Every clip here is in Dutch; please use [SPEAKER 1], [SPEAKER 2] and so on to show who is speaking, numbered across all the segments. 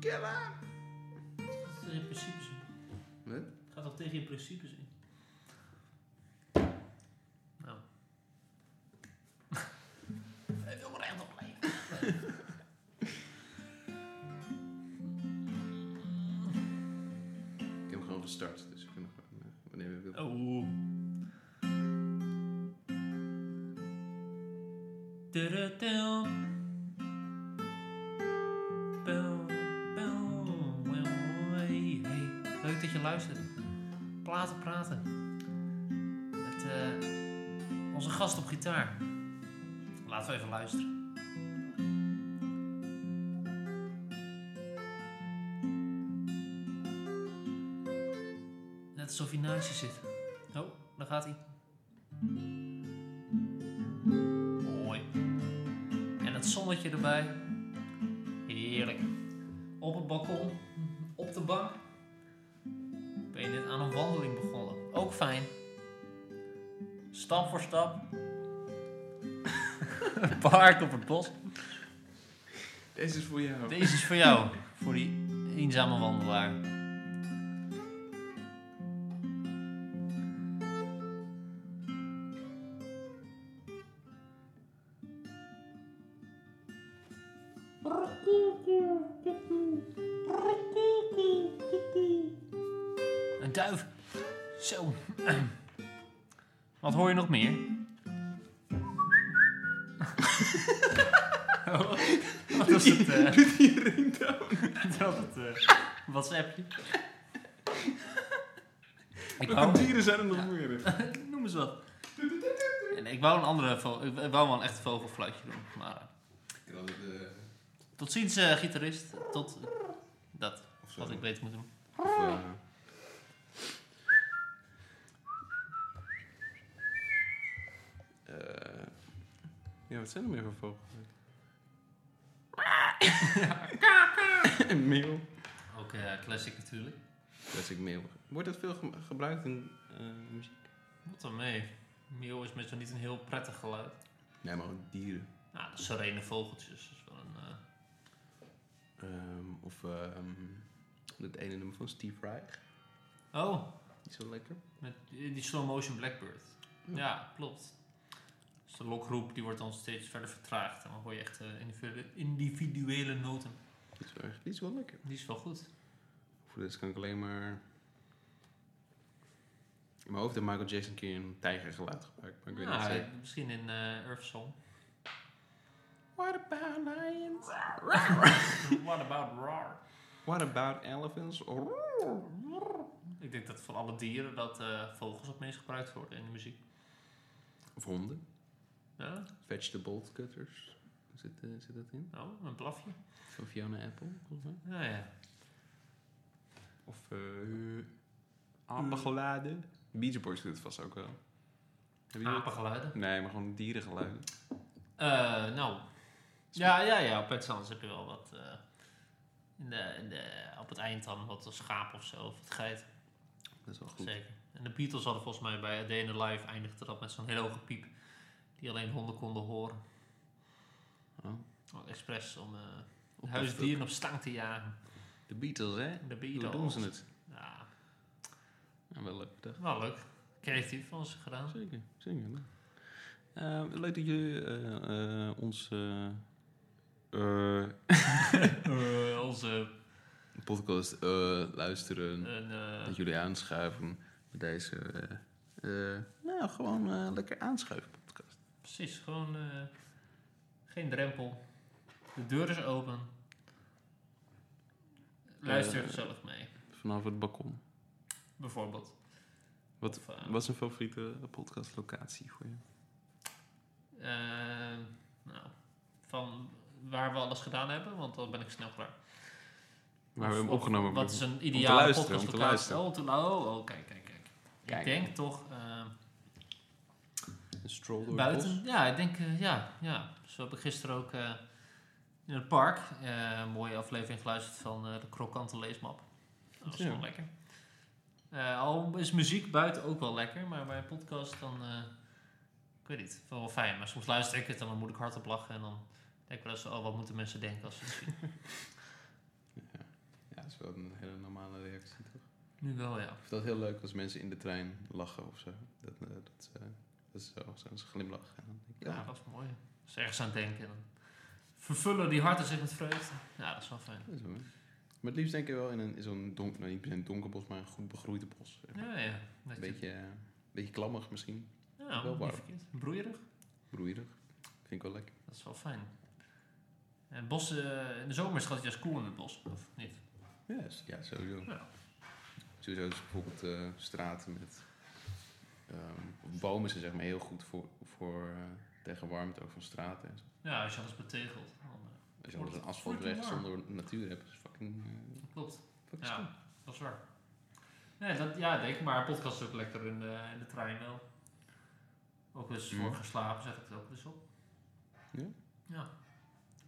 [SPEAKER 1] killer!
[SPEAKER 2] gaat tegen je principes in.
[SPEAKER 1] Wat?
[SPEAKER 2] Het gaat toch tegen je principes in? Nou. Hij wil recht op leven.
[SPEAKER 1] Ik heb hem gewoon gestart, dus we kunnen gewoon eh, wanneer we
[SPEAKER 2] Oh.
[SPEAKER 1] willen.
[SPEAKER 2] Oeh. Tudutum. Bel, bel, wel, hey, hey. Leuk dat je luistert. Platen praten. Met eh, onze gast op gitaar. Laten we even luisteren. Net alsof hij naast je zit. Oh, daar gaat hij. Mooi. En het zonnetje erbij. Heerlijk. Op het balkon, op de bank. Ben je net aan een wandeling begonnen? Ook fijn. Stap voor stap. Paard op het bos.
[SPEAKER 1] Deze is voor jou.
[SPEAKER 2] Deze is voor jou, voor die eenzame wandelaar. Een duif. Zo. Wat hoor je nog meer? Oh, Wat was het? eh?
[SPEAKER 1] Die ringtoon.
[SPEAKER 2] Dat het WhatsAppje. Ik
[SPEAKER 1] Welke
[SPEAKER 2] wou,
[SPEAKER 1] dieren zijn er nog
[SPEAKER 2] Ja.
[SPEAKER 1] meer?
[SPEAKER 2] noem eens wat. En ik wou een andere vo- ik wou wel een echt vogelfluitje doen. Maar eh,
[SPEAKER 1] Ik had het, eh,
[SPEAKER 2] tot ziens, eh, gitarist. Tot eh, dat,
[SPEAKER 1] of zo.
[SPEAKER 2] wat ik beter moet doen.
[SPEAKER 1] Of, eh, eh, ja, wat zijn er meer voor vogels? Meel.
[SPEAKER 2] Ook eh, classic natuurlijk.
[SPEAKER 1] Classic meel. Wordt dat veel ge- gebruikt in eh, muziek?
[SPEAKER 2] Wat dan mee? Mio is meestal niet een heel prettig geluid.
[SPEAKER 1] Nee, maar ook dieren.
[SPEAKER 2] Nou, de serene vogeltjes is wel een... eh,
[SPEAKER 1] Ehm, of ehm dat ene nummer van Steve Reich.
[SPEAKER 2] Oh,
[SPEAKER 1] Die is wel lekker.
[SPEAKER 2] met die die slow motion blackbird.
[SPEAKER 1] Ja.
[SPEAKER 2] Ja, klopt. Dus de lokroep die wordt dan steeds verder vertraagd. En dan hoor je echt eh, individu- individuele noten.
[SPEAKER 1] Die is wel, echt- die is wel lekker.
[SPEAKER 2] Die is wel goed.
[SPEAKER 1] Voor de rest kan ik alleen maar... In mijn hoofd heeft Michael Jackson een keer een tijgergeluid gebruikt. Maar ik weet
[SPEAKER 2] Nou,
[SPEAKER 1] niet zeker.
[SPEAKER 2] eh, misschien in eh Earth Song.
[SPEAKER 1] What about lions?
[SPEAKER 2] What about roar?
[SPEAKER 1] What about elephants?
[SPEAKER 2] Ik denk dat van alle dieren dat eh, vogels het meest gebruikt worden in de muziek.
[SPEAKER 1] Of honden.
[SPEAKER 2] Ja?
[SPEAKER 1] Vegetable cutters. Zit, eh, zit dat in?
[SPEAKER 2] Oh, een blafje.
[SPEAKER 1] Van Fiona Apple, volgens mij.
[SPEAKER 2] Ja, ja.
[SPEAKER 1] Of eh apengeladen. Beach Boys doet het vast ook wel. Heb je
[SPEAKER 2] Apengeluiden.
[SPEAKER 1] Nee, maar gewoon dierengeluiden.
[SPEAKER 2] Eh, nou. Ja, ja, ja. Op Pet Sounds heb je wel wat. eh, in de, in de, op het eind dan wat een schaap of zo. Of het geit.
[SPEAKER 1] Dat is wel goed.
[SPEAKER 2] Zeker. En de Beatles hadden volgens mij bij A Day in the Life eindigde dat met zo'n hele hoge piep. Die alleen honden konden horen.
[SPEAKER 1] Oh.
[SPEAKER 2] Want Expres om eh
[SPEAKER 1] Op
[SPEAKER 2] huisdieren op stang te jagen.
[SPEAKER 1] De Beatles, hè?
[SPEAKER 2] De
[SPEAKER 1] Hoe
[SPEAKER 2] Beatles.
[SPEAKER 1] doen ze het?
[SPEAKER 2] Ja,
[SPEAKER 1] Ja, wel leuk bedacht.
[SPEAKER 2] wel leuk. Creatief van ze gedaan.
[SPEAKER 1] Zeker, zeker. leuk. Eh, leuk dat jullie eh, eh, ons eh, eh,
[SPEAKER 2] Eh, onze
[SPEAKER 1] podcast eh, luisteren.
[SPEAKER 2] een, eh,
[SPEAKER 1] Dat jullie aanschuiven met deze... eh, eh, nou, gewoon eh, lekker aanschuiven podcast.
[SPEAKER 2] precies, gewoon eh, geen drempel. De deur is open. Luister
[SPEAKER 1] Eh,
[SPEAKER 2] gezellig mee,
[SPEAKER 1] Vanaf het balkon.
[SPEAKER 2] bijvoorbeeld.
[SPEAKER 1] Wat-
[SPEAKER 2] Of, eh,
[SPEAKER 1] Wat is een favoriete podcastlocatie voor je?
[SPEAKER 2] Eh, nou, van waar we alles gedaan hebben, want dan ben ik snel klaar.
[SPEAKER 1] Waar we
[SPEAKER 2] Of-
[SPEAKER 1] hem
[SPEAKER 2] of
[SPEAKER 1] opgenomen
[SPEAKER 2] Wat is
[SPEAKER 1] hebben.
[SPEAKER 2] een
[SPEAKER 1] te
[SPEAKER 2] ideale
[SPEAKER 1] luisteren,
[SPEAKER 2] podcast
[SPEAKER 1] om te
[SPEAKER 2] locatie? Oh, te lu- oh, oh, kijk, kijk, kijk.
[SPEAKER 1] Kijk.
[SPEAKER 2] Ik denk toch eh,
[SPEAKER 1] Een stroll door het bos.
[SPEAKER 2] buiten. Ja, ik denk, eh, ja, ja. Zo heb ik gisteren ook eh, in het park eh, een mooie aflevering geluisterd van eh, de krokante leesmap. Dat is
[SPEAKER 1] Ja.
[SPEAKER 2] wel lekker. Eh, al is muziek buiten ook wel lekker, maar bij een podcast dan, eh, ik weet niet, wel wel fijn. Maar soms luister ik het en dan moet ik hardop lachen en dan denk ik wel eens, oh, wat moeten mensen denken als ze het zien.
[SPEAKER 3] dat is wel een hele normale reactie, toch?
[SPEAKER 2] Nu wel, ja.
[SPEAKER 3] Ik vind dat heel leuk als mensen in de trein lachen of zo. Dat, eh, dat, eh, dat is zo, zo'n glimlach. En dan denk ik,
[SPEAKER 2] Ja,
[SPEAKER 3] ja,
[SPEAKER 2] dat is mooi. Dat is ergens aan het denken. Dan vervullen die harten zich met vreugde. Ja, dat is wel fijn.
[SPEAKER 3] dat is wel mooi. Maar het liefst denk ik wel in, een, in zo'n donker, nou, niet per se een donker bos, maar een goed begroeide bos. Zeg maar.
[SPEAKER 2] Ja, ja. Dat
[SPEAKER 3] Een
[SPEAKER 2] je-
[SPEAKER 3] beetje, eh, een beetje klammig misschien,
[SPEAKER 2] ja,
[SPEAKER 3] wel
[SPEAKER 2] niet
[SPEAKER 3] warm.
[SPEAKER 2] verkeerd. Broeierig.
[SPEAKER 3] broeierig. Vind ik wel lekker.
[SPEAKER 2] Dat is wel fijn. En bossen, in de zomer is het altijd juist koel in het bos, of niet?
[SPEAKER 3] Ja, is- ja sowieso.
[SPEAKER 2] Ja.
[SPEAKER 3] Sowieso is bijvoorbeeld eh, straten met ehm, bomen zijn zeg maar heel goed voor, voor eh, tegen warmte ook van straten. en zo.
[SPEAKER 2] Ja, als je alles betegelt. dan, eh,
[SPEAKER 3] Als je altijd een
[SPEAKER 2] Wordt- wordt het
[SPEAKER 3] asfaltweg
[SPEAKER 2] warm?
[SPEAKER 3] zonder natuur hebt, is fucking, eh,
[SPEAKER 2] klopt.
[SPEAKER 3] fucking
[SPEAKER 2] Ja,
[SPEAKER 3] stom.
[SPEAKER 2] dat is waar. Nee, dat, ja, denk ik, maar podcast is ook lekker in de, in de trein wel. Ook eens
[SPEAKER 3] Mm.
[SPEAKER 2] voor geslapen zet ik het ook eens op.
[SPEAKER 3] Ja?
[SPEAKER 2] Ja.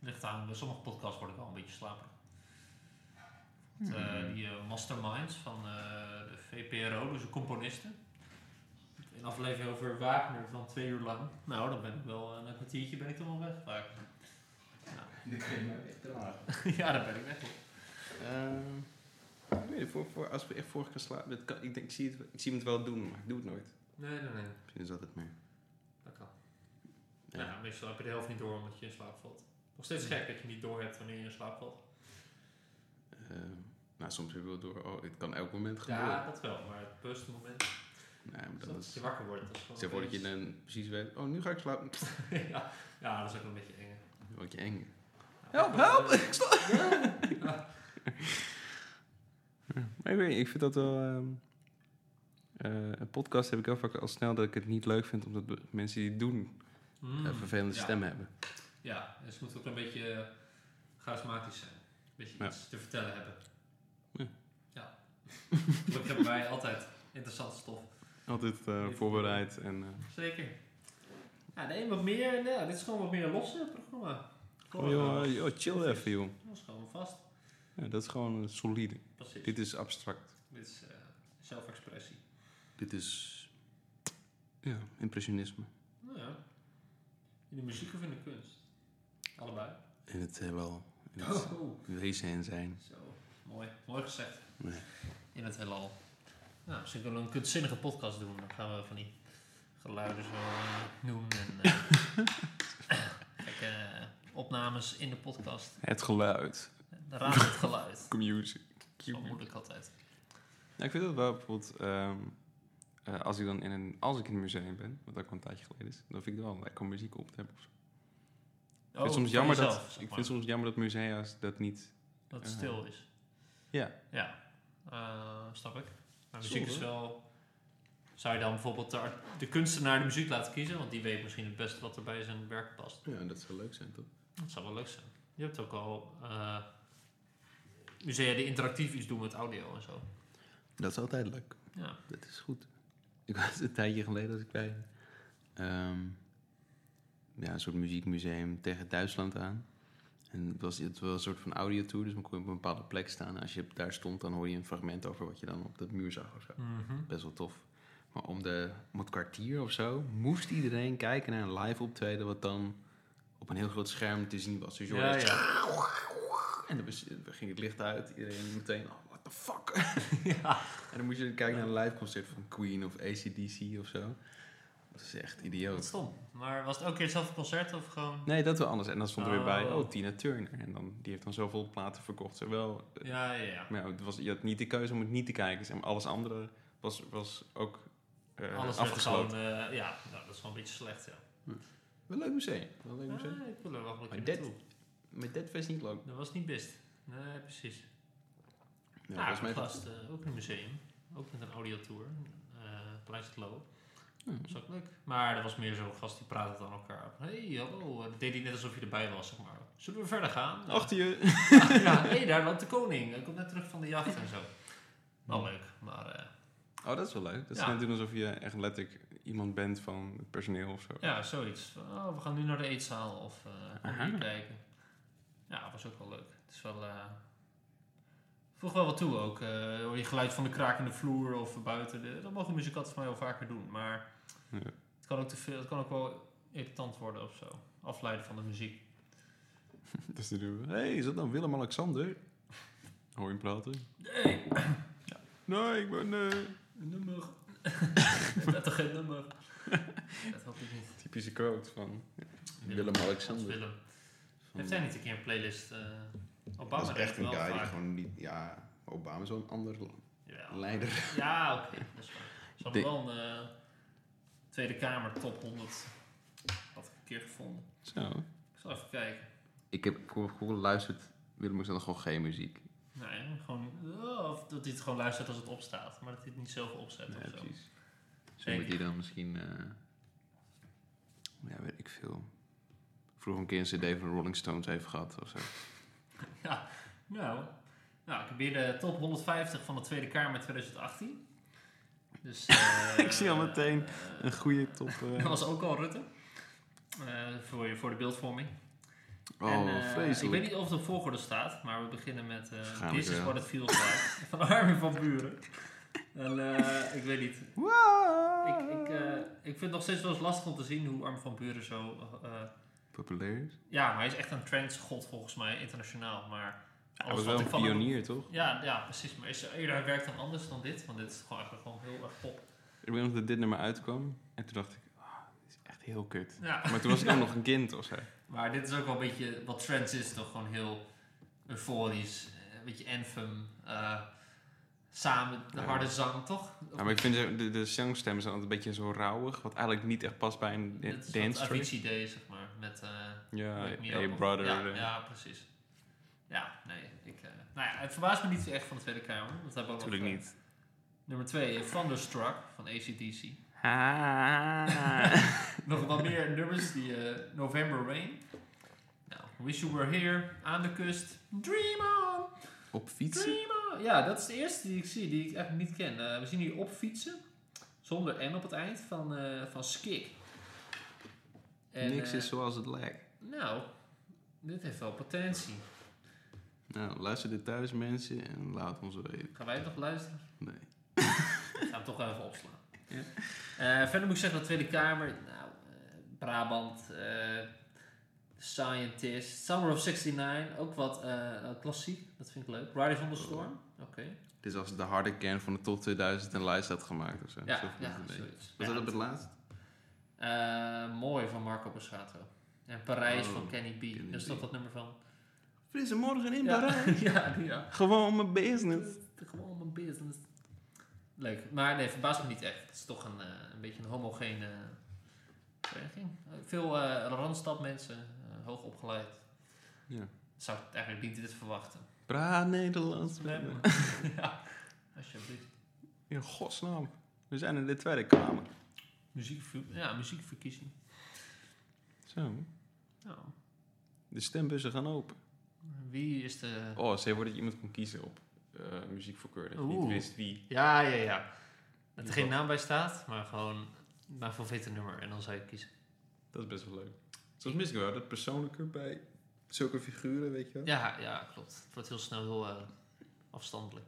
[SPEAKER 2] Ligt aan, bij sommige podcasts word ik wel een beetje slaperig. Want, eh,
[SPEAKER 3] Hmm.
[SPEAKER 2] die eh, masterminds van eh, de VPRO, dus de componisten. Een aflevering over Wagner van twee uur lang. Nou, dan ben ik wel, eh, na een kwartiertje ben ik toch wel weg vaak. ja, dan ben ik weg. hoor.
[SPEAKER 3] Ehm, ik weet het, voor, voor, als we echt voor gaan slapen, dat kan- ik, denk, ik, zie het, ik zie het wel doen, maar ik doe het nooit.
[SPEAKER 2] Nee, nee, nee.
[SPEAKER 3] Misschien is dat het meer.
[SPEAKER 2] Dat kan.
[SPEAKER 3] Ja.
[SPEAKER 2] Nou, meestal heb je de helft niet door omdat je in slaap valt. Nog steeds gek dat je niet door hebt wanneer je in slaap valt.
[SPEAKER 3] Ehm, nou, soms heb je wel door, oh, het kan elk moment gebeuren.
[SPEAKER 2] Ja, dat wel, maar het bewuste moment is
[SPEAKER 3] Nee, maar
[SPEAKER 2] dat,
[SPEAKER 3] dat is...
[SPEAKER 2] je wakker wordt. Dat is gewoon
[SPEAKER 3] Stel voor dat je
[SPEAKER 2] opeens-
[SPEAKER 3] dan precies weet, oh, nu ga ik slapen. Pff,
[SPEAKER 2] ja, ja, dat is ook een beetje eng.
[SPEAKER 3] dan word je eng.
[SPEAKER 2] Help, help! Ik
[SPEAKER 3] Maar ik weet niet, ik vind dat wel... ehm, eh, een podcast heb ik heel vaak al snel dat ik het niet leuk vind... omdat de mensen die het doen eh, vervelende
[SPEAKER 2] Mm. ja.
[SPEAKER 3] stemmen hebben.
[SPEAKER 2] Ja, dus het moet ook een beetje eh, charismatisch zijn. Een beetje
[SPEAKER 3] Ja.
[SPEAKER 2] iets te vertellen hebben.
[SPEAKER 3] Ja.
[SPEAKER 2] Ja. Gelukkig hebben wij altijd interessante stof.
[SPEAKER 3] Altijd eh, voorbereid en... eh,
[SPEAKER 2] Zeker. Ja, nee, wat meer. Nee, dit is gewoon wat meer losse programma.
[SPEAKER 3] oh, joh, eh, joh, chill even, joh.
[SPEAKER 2] Dat is gewoon vast.
[SPEAKER 3] Ja, dat is gewoon eh, solide.
[SPEAKER 2] Precies.
[SPEAKER 3] Dit is abstract.
[SPEAKER 2] Dit is eh, zelfexpressie.
[SPEAKER 3] Dit is... Ja, impressionisme.
[SPEAKER 2] Nou ja. In de muziek of in de kunst? Allebei. Oh.
[SPEAKER 3] In het heelal. In het wezen en zijn.
[SPEAKER 2] Zo, mooi. Mooi gezegd.
[SPEAKER 3] Nee.
[SPEAKER 2] In het heelal. Nou, misschien kunnen we een kunstzinnige podcast doen. Dan gaan we van die geluiden zo eh, doen. En, eh, kijk, eh, opnames in de podcast.
[SPEAKER 3] Het geluid.
[SPEAKER 2] De raad het geluid.
[SPEAKER 3] Music.
[SPEAKER 2] Zo moeilijk altijd.
[SPEAKER 3] Ja, ik vind dat wel bijvoorbeeld... ehm, eh, als ik dan in een... Als ik in een museum ben, wat ook al een tijdje geleden is... Dan vind ik het wel lekker om muziek op te hebben. ik, vind
[SPEAKER 2] Oh,
[SPEAKER 3] soms
[SPEAKER 2] voor
[SPEAKER 3] jammer
[SPEAKER 2] jezelf,
[SPEAKER 3] dat,
[SPEAKER 2] zeg
[SPEAKER 3] ik
[SPEAKER 2] maar.
[SPEAKER 3] vind soms jammer dat musea's dat niet...
[SPEAKER 2] Dat het
[SPEAKER 3] Eh,
[SPEAKER 2] stil is.
[SPEAKER 3] ja.
[SPEAKER 2] Ja, Eh, snap ik. Maar
[SPEAKER 3] Zo,
[SPEAKER 2] muziek is
[SPEAKER 3] hoor.
[SPEAKER 2] wel... Zou je dan bijvoorbeeld de, art- de kunstenaar de muziek laten kiezen? Want die weet misschien het beste wat er bij zijn werk past.
[SPEAKER 3] Ja, dat zou leuk zijn, toch?
[SPEAKER 2] Dat zou wel leuk zijn. Je hebt ook al eh, musea die interactief iets doen met audio en zo.
[SPEAKER 3] Dat is altijd leuk.
[SPEAKER 2] Ja,
[SPEAKER 3] Dat is goed. Ik was een tijdje geleden als ik bij ehm, ja, een soort muziekmuseum tegen Duitsland aan. En het was, het was een soort van audiotour, dus dan kon je op een bepaalde plek staan. En als je daar stond, dan hoor je een fragment over wat je dan op de muur zag of zo.
[SPEAKER 2] Mhm.
[SPEAKER 3] Best wel tof. Maar om, de, om het kwartier of zo moest iedereen kijken naar een live optreden... wat dan op een heel groot scherm te zien was. Dus je hoorde
[SPEAKER 2] ja,
[SPEAKER 3] het-
[SPEAKER 2] ja.
[SPEAKER 3] En dan was- dan ging het licht uit. Iedereen meteen, oh, what the fuck?
[SPEAKER 2] ja.
[SPEAKER 3] En dan moet je kijken naar een live concert van Queen of ACDC of zo. Dat is echt
[SPEAKER 2] Dat is
[SPEAKER 3] idioot.
[SPEAKER 2] stom. Maar was het elke keer hetzelfde concert of gewoon...
[SPEAKER 3] Nee, dat wel anders. En dan stond er weer bij,
[SPEAKER 2] Oh.
[SPEAKER 3] oh, Tina Turner. En dan, die heeft dan zoveel platen verkocht. Zowel,
[SPEAKER 2] Ja, ja, ja.
[SPEAKER 3] maar ja, het was, je had niet de keuze om het niet te kijken. En alles andere was, was ook eh,
[SPEAKER 2] Alles werd
[SPEAKER 3] afgesloten.
[SPEAKER 2] gewoon... eh, ja, nou, dat is wel een beetje slecht, ja.
[SPEAKER 3] Wel een leuk museum. Wel een leuk museum.
[SPEAKER 2] Ah, ik wil er wel een keer
[SPEAKER 3] Maar dit-
[SPEAKER 2] naartoe.
[SPEAKER 3] Maar dat was niet leuk.
[SPEAKER 2] Dat was niet best. Nee, precies.
[SPEAKER 3] Ja,
[SPEAKER 2] Ja,
[SPEAKER 3] volgens mij-
[SPEAKER 2] nou, gast, eh, ook in een museum. Ook met een audiotour. eh Paleis het Loo.
[SPEAKER 3] Ja.
[SPEAKER 2] Dat is ook leuk. Maar er was meer zo'n gast die praatte dan elkaar. op. hey, hallo. En dat deed hij net alsof je erbij was, zeg maar. Zullen we verder gaan?
[SPEAKER 3] Achter je.
[SPEAKER 2] Ah, ja, hé, hey, daar loopt de koning. Hij komt net terug van de jacht en zo. Wel
[SPEAKER 3] Hmm.
[SPEAKER 2] leuk, maar... eh,
[SPEAKER 3] Oh, dat is wel leuk. Dat is
[SPEAKER 2] Ja.
[SPEAKER 3] net doen alsof je echt letterlijk iemand bent van het personeel of zo.
[SPEAKER 2] ja, zoiets. Van, oh, we gaan nu naar de eetzaal of eh kom
[SPEAKER 3] Aha.
[SPEAKER 2] hier kijken. Ja, dat was ook wel leuk. Het is wel... eh Voeg wel wat toe ook. eh, hoor je geluid van de krakende vloer of buiten. De, dat mogen muzikanten van mij wel vaker doen. Maar
[SPEAKER 3] Ja.
[SPEAKER 2] het, kan ook te veel, het kan ook wel irritant worden of zo. Afleiden van de muziek.
[SPEAKER 3] Dus dan doen we, hé, hey, is dat dan Willem-Alexander?
[SPEAKER 1] nou Hoor je hem praten? Nee. Nee, ik ben... eh,
[SPEAKER 2] Een nummer. Ik ben toch geen nummer? dat hoop ik niet.
[SPEAKER 1] typische quote van Willem-Alexander.
[SPEAKER 2] Willem.
[SPEAKER 1] van-
[SPEAKER 2] Heeft hij niet een keer een playlist? eh Obama
[SPEAKER 1] Dat is echt
[SPEAKER 2] heeft
[SPEAKER 1] een
[SPEAKER 2] wel
[SPEAKER 1] guy die
[SPEAKER 2] vaak.
[SPEAKER 1] gewoon niet... Ja, Obama is wel een ander
[SPEAKER 2] Jawel.
[SPEAKER 1] leider.
[SPEAKER 2] Ja, oké. dat is waar. Ze hadden
[SPEAKER 1] De-
[SPEAKER 2] wel een eh, Tweede Kamer top 100. Had ik een keer gevonden.
[SPEAKER 1] Zo.
[SPEAKER 2] Ik zal even kijken.
[SPEAKER 1] Ik heb bijvoorbeeld geluisterd... Willem-Alexander gewoon geen muziek.
[SPEAKER 2] Nou ja, gewoon, eh, of dat hij het gewoon luistert als het opstaat. Maar dat hij het niet zelf opzet
[SPEAKER 1] Nee,
[SPEAKER 2] of zo.
[SPEAKER 1] precies. Zo
[SPEAKER 2] Zeker.
[SPEAKER 1] moet hij dan misschien... eh, ja, weet ik veel. Vroeger een keer een cd van Rolling Stones heeft gehad of zo.
[SPEAKER 2] Nou, nou, ik heb hier de top 150 van de Tweede Kamer 2018. Dus, eh,
[SPEAKER 1] Ik zie al
[SPEAKER 2] eh,
[SPEAKER 1] meteen
[SPEAKER 2] eh,
[SPEAKER 1] Een goede top...
[SPEAKER 2] Dat was ook al Rutte. Eh, voor, voor de beeldvorming.
[SPEAKER 1] oh,
[SPEAKER 2] En, eh, Ik
[SPEAKER 1] vreselijk.
[SPEAKER 2] weet niet of het op volgorde staat, maar we beginnen met eh,
[SPEAKER 1] Waarschijnlijk
[SPEAKER 2] This is
[SPEAKER 1] wel.
[SPEAKER 2] what it feels like van Armin van Buren. En, eh, ik weet niet. Ik, ik, eh, ik vind het nog steeds wel eens lastig om te zien hoe Armin van Buren zo... eh,
[SPEAKER 1] Populair is.
[SPEAKER 2] ja, maar hij is echt een trendsgod volgens mij, internationaal. Maar
[SPEAKER 1] Hij
[SPEAKER 2] alles wat
[SPEAKER 1] was wel
[SPEAKER 2] ik
[SPEAKER 1] een
[SPEAKER 2] van hem-
[SPEAKER 1] pionier, toch?
[SPEAKER 2] Ja, ja, precies. Maar is, eerder hij werkt dan anders dan dit, want dit is gewoon eigenlijk gewoon heel erg pop.
[SPEAKER 1] Ik weet nog dat dit nummer uitkwam. En toen dacht ik, ah, dit is echt heel kut.
[SPEAKER 2] Ja.
[SPEAKER 1] Maar toen was ik ook nog een kind of zo.
[SPEAKER 2] Maar dit is ook wel een beetje wat trends is, toch gewoon heel euforisch, eh, een beetje anthem, eh, samen de
[SPEAKER 1] Ja.
[SPEAKER 2] harde zang, toch?
[SPEAKER 1] Ja, maar ik vind ze- de, de songstemmen zijn altijd een beetje zo rauwig. Wat eigenlijk niet echt past bij
[SPEAKER 2] Dit
[SPEAKER 1] een da-
[SPEAKER 2] is wat
[SPEAKER 1] dance track.
[SPEAKER 2] Avicii deed, zeg maar, met eh,
[SPEAKER 1] Ja,
[SPEAKER 2] Wake Me
[SPEAKER 1] Hey
[SPEAKER 2] Up of-
[SPEAKER 1] Brother.
[SPEAKER 2] Ja,
[SPEAKER 1] eh.
[SPEAKER 2] ja, precies. Ja, nee, ik, eh, nou ja, het verbaast me niet echt van de Tweede Kamer. want we hebben ook nog,
[SPEAKER 1] Natuurlijk
[SPEAKER 2] eh,
[SPEAKER 1] niet.
[SPEAKER 2] Nummer 2, Thunderstruck van ACDC.
[SPEAKER 1] Ah.
[SPEAKER 2] Nog wat meer nummers die eh, November Rain. Nou, Wish You Were Here, Aan de Kust, Dream On.
[SPEAKER 1] Op fietsen?
[SPEAKER 2] Prima. Oh, Ja, dat is de eerste die ik zie, die ik eigenlijk niet ken. Eh, we zien hier op fietsen, zonder N op het eind, van, eh, van Skik. En,
[SPEAKER 1] Niks
[SPEAKER 2] eh,
[SPEAKER 1] is zoals het lijkt.
[SPEAKER 2] Nou, dit heeft wel potentie.
[SPEAKER 1] Nou, luister dit thuis mensen en laat ons weten.
[SPEAKER 2] Gaan wij het nog luisteren?
[SPEAKER 1] Nee.
[SPEAKER 2] Ik ga hem toch wel even opslaan.
[SPEAKER 1] Ja.
[SPEAKER 2] Eh, verder moet ik zeggen, de Tweede Kamer, nou, eh, Brabant, eh, Scientist, Summer of 69, ook wat eh, nou, klassiek, dat vind ik leuk. Riders
[SPEAKER 1] Oh.
[SPEAKER 2] on the Storm, oké.
[SPEAKER 1] Dit is als de harde kern van de top 2000 en lijst had gemaakt of zo.
[SPEAKER 2] Ja,
[SPEAKER 1] Zo
[SPEAKER 2] ja,
[SPEAKER 1] voelt het een beetje.
[SPEAKER 2] zoiets.
[SPEAKER 1] Was
[SPEAKER 2] Ja,
[SPEAKER 1] dat op het laatst?
[SPEAKER 2] Eh, mooi van Marco Borsato. En Parijs
[SPEAKER 1] Oh,
[SPEAKER 2] van Kenny B.
[SPEAKER 1] Kenny
[SPEAKER 2] dat is
[SPEAKER 1] B.
[SPEAKER 2] toch dat nummer van?
[SPEAKER 1] Frisse morgen in
[SPEAKER 2] ja.
[SPEAKER 1] Parijs.
[SPEAKER 2] ja, die, ja.
[SPEAKER 1] Gewoon mijn business.
[SPEAKER 2] Gewoon mijn business. Leuk. Maar nee, verbaast me niet echt. Het is toch een, eh, een beetje een homogene vereniging. Eh, Veel eh Randstad mensen, hoog opgeleid.
[SPEAKER 1] Ja.
[SPEAKER 2] Zou ik eigenlijk niet dit verwachten.
[SPEAKER 1] Praat Nederlands.
[SPEAKER 2] ja, alsjeblieft.
[SPEAKER 1] In godsnaam. We zijn in de Tweede Kamer.
[SPEAKER 2] Muziekver- ja, muziekverkiezing.
[SPEAKER 1] Zo.
[SPEAKER 2] Nou,
[SPEAKER 1] De stembussen gaan open.
[SPEAKER 2] wie is de...
[SPEAKER 1] Oh, ze wordt dat je iemand kon kiezen op eh muziekvoorkeur. Dat je niet
[SPEAKER 2] Oeh.
[SPEAKER 1] wist wie.
[SPEAKER 2] Ja, ja, ja. Dat er
[SPEAKER 1] Die
[SPEAKER 2] geen
[SPEAKER 1] wat-
[SPEAKER 2] naam bij staat, maar gewoon mijn favoriete nummer. En dan zou je kiezen.
[SPEAKER 1] Dat is best wel leuk. Soms mis ik wel dat persoonlijke bij zulke figuren, weet je wel.
[SPEAKER 2] Ja, ja, klopt. Het wordt heel snel heel eh, afstandelijk.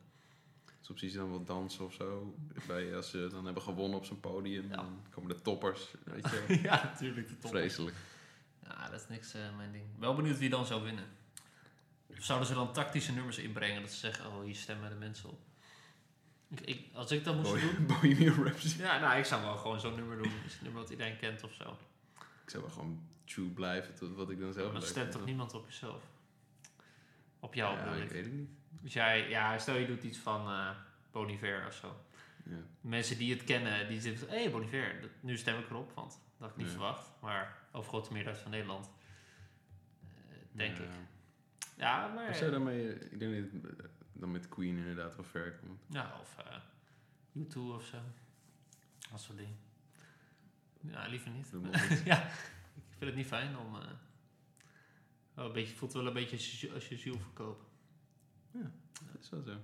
[SPEAKER 1] Soms zie je dan wel dansen of zo. Bij, als ze dan hebben gewonnen op zo'n podium.
[SPEAKER 2] Ja.
[SPEAKER 1] Dan komen de toppers, weet je wel.
[SPEAKER 2] ja, natuurlijk. De top.
[SPEAKER 1] Vreselijk.
[SPEAKER 2] Ja, dat is niks eh, mijn ding. Wel benieuwd wie dan zou winnen. Of zouden ze dan tactische nummers inbrengen dat ze zeggen, oh, hier stemmen de mensen op. Ik, ik, als ik dat moest doen...
[SPEAKER 1] Boy- Bohemian Rhapsody.
[SPEAKER 2] Ja, nou, ik zou wel gewoon zo'n nummer doen. Is een nummer wat iedereen kent of zo.
[SPEAKER 1] Ik zou wel gewoon true blijven tot wat ik dan zelf
[SPEAKER 2] Maar dan
[SPEAKER 1] leuk
[SPEAKER 2] stemt toch
[SPEAKER 1] vind.
[SPEAKER 2] niemand op jezelf? Op jou,
[SPEAKER 1] Ja,
[SPEAKER 2] bedoel
[SPEAKER 1] ik
[SPEAKER 2] ik.
[SPEAKER 1] weet het niet.
[SPEAKER 2] Dus jij, ja, stel je doet iets van eh Bon Iver of zo.
[SPEAKER 1] Ja.
[SPEAKER 2] Mensen die het kennen, die zitten van, hé, hey, Bon Iver, dat- nu stem ik erop, want dat had ik niet
[SPEAKER 1] Ja.
[SPEAKER 2] verwacht. Maar overgrote meerderheid van Nederland, eh, denk
[SPEAKER 1] Ja.
[SPEAKER 2] ik. Ja, maar...
[SPEAKER 1] Ik zou daarmee, eh, ik denk dat het dan met Queen inderdaad wel ver komt.
[SPEAKER 2] Ja, of eh YouTube of zo. Dat soort dingen. Ja, liever niet.
[SPEAKER 1] Doe maar niet.
[SPEAKER 2] ja, ik vind het niet fijn om... eh wel een beetje, voelt wel een beetje als je, ziel- als je ziel verkopen.
[SPEAKER 1] Dat is wel zo.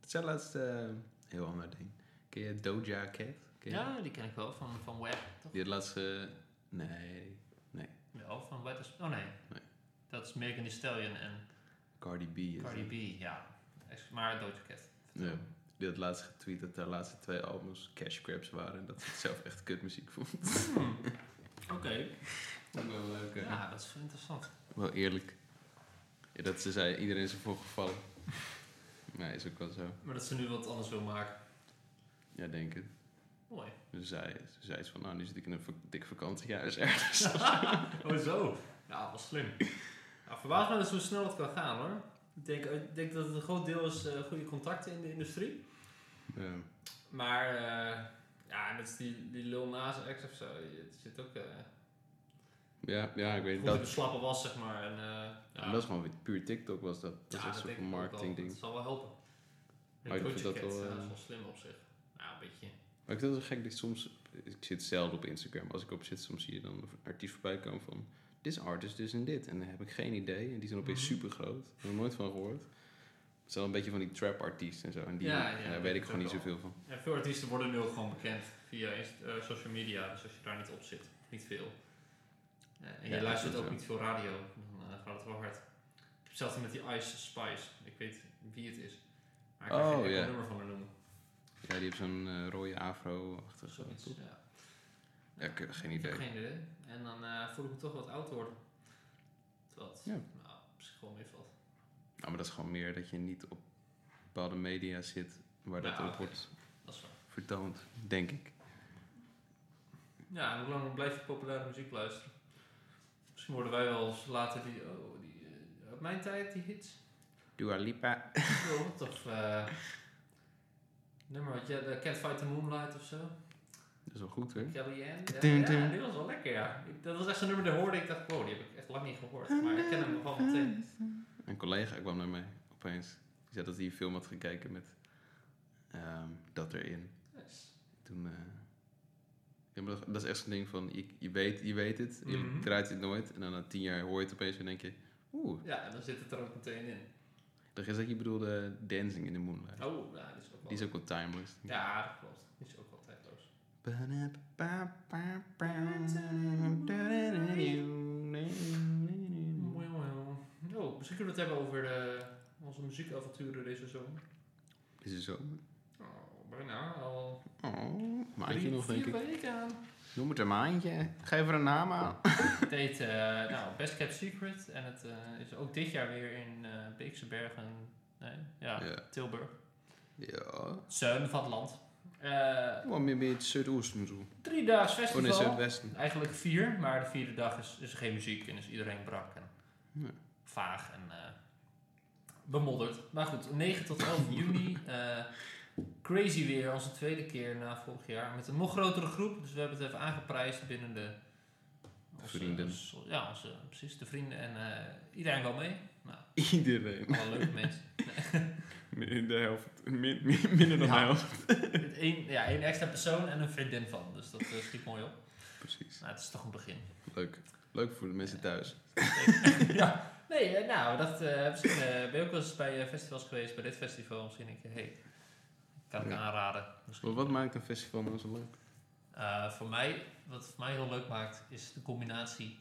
[SPEAKER 1] Het zijn laatst eh, heel ander ding. Ken je Doja Cat? Ken je die?
[SPEAKER 2] Ja, die ken ik wel, van, van Web, toch?
[SPEAKER 1] Die had laatst, eh, nee,
[SPEAKER 2] Wel, van Wet is... Oh nee.
[SPEAKER 1] Nee.
[SPEAKER 2] Dat is Megan Thee Stallion en
[SPEAKER 1] Cardi B. is
[SPEAKER 2] Cardi
[SPEAKER 1] het.
[SPEAKER 2] B, ja. Ex- Maar Doja Cat.
[SPEAKER 1] Ja. Die had laatst getweet dat haar laatste twee albums cash grabs waren. En dat ze het zelf echt kutmuziek vond.
[SPEAKER 2] Hmm. Oké.
[SPEAKER 1] Ook wel leuk, hè?
[SPEAKER 2] Ja, dat is interessant.
[SPEAKER 1] Wel eerlijk. Ja, dat ze zei, iedereen is ervoor gevallen.
[SPEAKER 3] Nee, is ook wel zo.
[SPEAKER 2] Maar dat ze nu wat anders wil maken.
[SPEAKER 3] Ja, denk het.
[SPEAKER 2] Mooi.
[SPEAKER 3] Dus zij, ze zei iets van, nou, nu zit ik in een vak- dik vakantiehuis ergens.
[SPEAKER 2] oh, zo. Ja, wel slim. Nou, verbaas me dus hoe snel het kan gaan hoor. Ik denk, ik denk dat het een groot deel is eh, goede contacten in de industrie.
[SPEAKER 3] Ja.
[SPEAKER 2] Maar eh, ja, dat is die, die Lil Nas X of zo. Het zit ook eh
[SPEAKER 3] ja, ja, ik weet
[SPEAKER 2] goed
[SPEAKER 3] het.
[SPEAKER 2] in de
[SPEAKER 3] Dat,
[SPEAKER 2] slappe was, zeg maar. En, eh, ja,
[SPEAKER 3] en dat is gewoon weer puur TikTok was dat. Dat
[SPEAKER 2] ja,
[SPEAKER 3] is een
[SPEAKER 2] denk
[SPEAKER 3] soort
[SPEAKER 2] ik ook
[SPEAKER 3] marketing
[SPEAKER 2] wel.
[SPEAKER 3] ding.
[SPEAKER 2] Dat zal wel helpen. En
[SPEAKER 3] Maar ik
[SPEAKER 2] Doja
[SPEAKER 3] vind dat
[SPEAKER 2] Cat,
[SPEAKER 3] wel,
[SPEAKER 2] eh,
[SPEAKER 3] eh,
[SPEAKER 2] is wel slim op zich. Nou, een beetje.
[SPEAKER 3] Maar ik vind het wel gek dat ik soms... Ik zit zelden op Instagram. Als ik op zit, soms zie je dan een artiest voorbij komen van... This artist is in dit. En dan heb ik geen idee. En die zijn opeens
[SPEAKER 2] Mhm.
[SPEAKER 3] super groot. Daar heb ik nooit van gehoord. Het zijn wel een beetje van die trap artiesten en zo. En die,
[SPEAKER 2] Ja, ja,
[SPEAKER 3] en
[SPEAKER 2] dat
[SPEAKER 3] daar weet ik
[SPEAKER 2] is
[SPEAKER 3] gewoon
[SPEAKER 2] ook
[SPEAKER 3] niet
[SPEAKER 2] wel.
[SPEAKER 3] zoveel van.
[SPEAKER 2] Ja, veel artiesten worden nu ook gewoon bekend via inst- eh, social media, dus als je daar niet op zit, niet veel. Eh, en
[SPEAKER 3] Ja,
[SPEAKER 2] je
[SPEAKER 3] dat
[SPEAKER 2] luistert
[SPEAKER 3] is
[SPEAKER 2] ook
[SPEAKER 3] zo.
[SPEAKER 2] niet veel radio, dan eh, gaat het wel hard. Ik heb zelfs met die Ice Spice, ik weet wie het is, maar ik kan
[SPEAKER 3] Oh,
[SPEAKER 2] geen enkel
[SPEAKER 3] ja.
[SPEAKER 2] nummer van haar noemen.
[SPEAKER 3] Ja, die heeft zo'n eh, rode afro-achtig. eh,
[SPEAKER 2] Zoiets,
[SPEAKER 3] top.
[SPEAKER 2] ja.
[SPEAKER 3] Ja, ik heb geen
[SPEAKER 2] Ik heb
[SPEAKER 3] idee.
[SPEAKER 2] geen idee. En dan eh, voel ik me toch wat oud worden. Terwijl het
[SPEAKER 3] Ja.
[SPEAKER 2] nou, op zich gewoon meevalt.
[SPEAKER 3] Nou, maar dat is gewoon meer dat je niet op bepaalde media zit waar dat
[SPEAKER 2] Nou,
[SPEAKER 3] op
[SPEAKER 2] oké.
[SPEAKER 3] wordt
[SPEAKER 2] Dat is waar.
[SPEAKER 3] vertoond, denk ik.
[SPEAKER 2] Ja, en hoe lang blijf je populaire muziek luisteren? Misschien worden wij wel eens later die, oh, die, eh, uit mijn tijd, die hits.
[SPEAKER 3] Dua Lipa.
[SPEAKER 2] Yo, wat of eh nummer wat je de Can't Fight the Moonlight of zo.
[SPEAKER 3] Dat is wel goed hoor.
[SPEAKER 2] Kelly Ann.
[SPEAKER 3] Dun,
[SPEAKER 2] Ja, ja,
[SPEAKER 3] dun.
[SPEAKER 2] die was wel lekker ja. Ik- dat was echt zo'n nummer dat hoorde ik dacht, wow, die heb ik echt lang niet gehoord. Maar ik ken hem wel meteen.
[SPEAKER 3] Een collega kwam naar mij opeens. Die zei dat hij een film had gekeken met ehm, dat erin.
[SPEAKER 2] Yes.
[SPEAKER 3] Toen, eh, ja, maar dat, dat is echt zo'n ding van, je, je, weet, je weet het,
[SPEAKER 2] Mhm.
[SPEAKER 3] je draait het nooit. En dan na tien jaar hoor je het opeens en denk je, oeh.
[SPEAKER 2] Ja, en dan zit het er ook meteen in.
[SPEAKER 3] Dat is dat je bedoelde Dancing in the Moonlight.
[SPEAKER 2] Oh, ja, die is ook wel.
[SPEAKER 3] Die is ook wel timeless.
[SPEAKER 2] Ja, dat klopt. Die is ook wel tijdloos.
[SPEAKER 3] Ja,
[SPEAKER 2] Oh, misschien kunnen we het hebben over de, onze muziekavonturen deze zomer.
[SPEAKER 3] Is het zo?
[SPEAKER 2] Oh, bijna al.
[SPEAKER 3] Oh, maandje
[SPEAKER 2] drie,
[SPEAKER 3] nog, denk
[SPEAKER 2] vier
[SPEAKER 3] ik.
[SPEAKER 2] weken aan.
[SPEAKER 3] Noem het een maandje. Geef er een naam aan.
[SPEAKER 2] Het heet eh, nou, Best Kept Secret en het eh, is ook dit jaar weer in eh Beekse Bergen, nee, ja,
[SPEAKER 3] Ja.
[SPEAKER 2] Tilburg,
[SPEAKER 3] Ja.
[SPEAKER 2] het zuiden van het land. Eh
[SPEAKER 3] Wat meer bij het zuidoosten zo.
[SPEAKER 2] drie daags
[SPEAKER 3] Oh nee,
[SPEAKER 2] festival,
[SPEAKER 3] zuidwesten.
[SPEAKER 2] eigenlijk vier, maar de vierde dag is, is er geen muziek en is iedereen brak en
[SPEAKER 3] Ja.
[SPEAKER 2] vaag en eh, bemodderd. Maar goed, 9 tot 11 juni, eh, crazy weer, onze tweede keer na vorig jaar, met een nog grotere groep, dus we hebben het even aangeprijsd binnen de... onze-
[SPEAKER 3] Vrienden.
[SPEAKER 2] onze- ja, onze, precies, de vrienden en eh, iedereen wel mee.
[SPEAKER 3] Iedereen.
[SPEAKER 2] Alle leuke mensen.
[SPEAKER 3] Minder de helft. Min- min- minder dan
[SPEAKER 2] Ja.
[SPEAKER 3] de helft.
[SPEAKER 2] Met één, ja, één extra persoon en een vriendin van. Dus dat eh, schiet mooi op.
[SPEAKER 3] Precies.
[SPEAKER 2] Nou, het is toch een begin.
[SPEAKER 3] Leuk. Leuk voor de mensen thuis.
[SPEAKER 2] ja. Nee, eh, nou, dat, eh, misschien eh, ben je ook wel eens bij eh, festivals geweest. Bij dit festival misschien denk je, hé, hey, kan ik
[SPEAKER 3] Ja.
[SPEAKER 2] aanraden.
[SPEAKER 3] Maar
[SPEAKER 2] Misschien.
[SPEAKER 3] wat maakt een festival nou zo leuk?
[SPEAKER 2] Eh, voor mij, wat voor mij heel leuk maakt, is de combinatie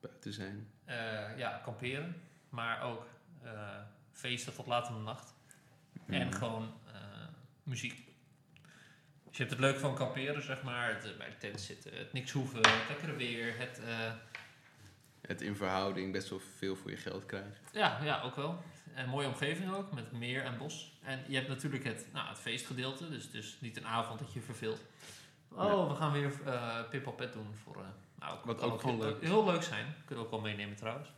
[SPEAKER 3] Buiten zijn.
[SPEAKER 2] eh, ja, kamperen. Maar ook eh, feesten tot laat in de nacht.
[SPEAKER 3] Mhm.
[SPEAKER 2] En gewoon eh, muziek. Dus je hebt het leuk van kamperen, zeg maar. Het, eh, bij de tent zitten, het niks hoeven, het lekkere weer. Het, eh,
[SPEAKER 3] Het in verhouding best wel veel voor je geld krijgen.
[SPEAKER 2] ja, ja, ook wel. En mooie omgeving ook, met meer en bos. En je hebt natuurlijk het, nou, het feestgedeelte. Dus het is niet een avond dat je je verveelt. Oh,
[SPEAKER 3] Nee.
[SPEAKER 2] we gaan weer eh pip doen voor... eh, nou,
[SPEAKER 3] Wat
[SPEAKER 2] kan
[SPEAKER 3] ook gewoon
[SPEAKER 2] heel-
[SPEAKER 3] leuk is.
[SPEAKER 2] Heel leuk zijn. Kunnen we ook wel meenemen trouwens.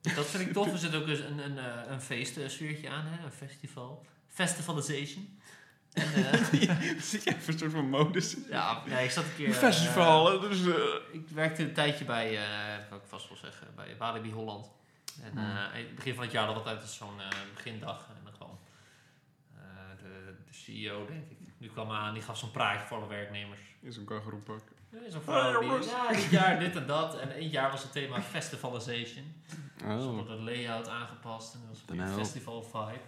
[SPEAKER 2] Dat vind ik tof. Er zit ook eens een, een, eh, een feestsfeertje aan, hè? een festival. Festivalization. En, eh,
[SPEAKER 3] Zit je even een soort van modus?
[SPEAKER 2] Ja, nee, ik zat een keer...
[SPEAKER 3] Festivalen, dus... eh,
[SPEAKER 2] eh, ik werkte een tijdje bij, eh wat ik vast wel zeggen, bij Walibi Holland. En
[SPEAKER 3] Hmm.
[SPEAKER 2] eh, in het begin van het jaar hadden we altijd zo'n eh, begindag. En dan kwam eh, de, de CEO, denk ik. Nu kwam aan, die gaf zo'n praatje voor alle werknemers.
[SPEAKER 3] In zo'n kangeroepak.
[SPEAKER 2] Er is een
[SPEAKER 3] Ah,
[SPEAKER 2] vrouw die,
[SPEAKER 3] jongens.
[SPEAKER 2] ja, dit jaar dit en dat. En één jaar was het thema festivalization. Ze
[SPEAKER 3] Oh.
[SPEAKER 2] hadden de layout aangepast en dat was
[SPEAKER 3] Dan
[SPEAKER 2] een
[SPEAKER 3] help.
[SPEAKER 2] festival vibe.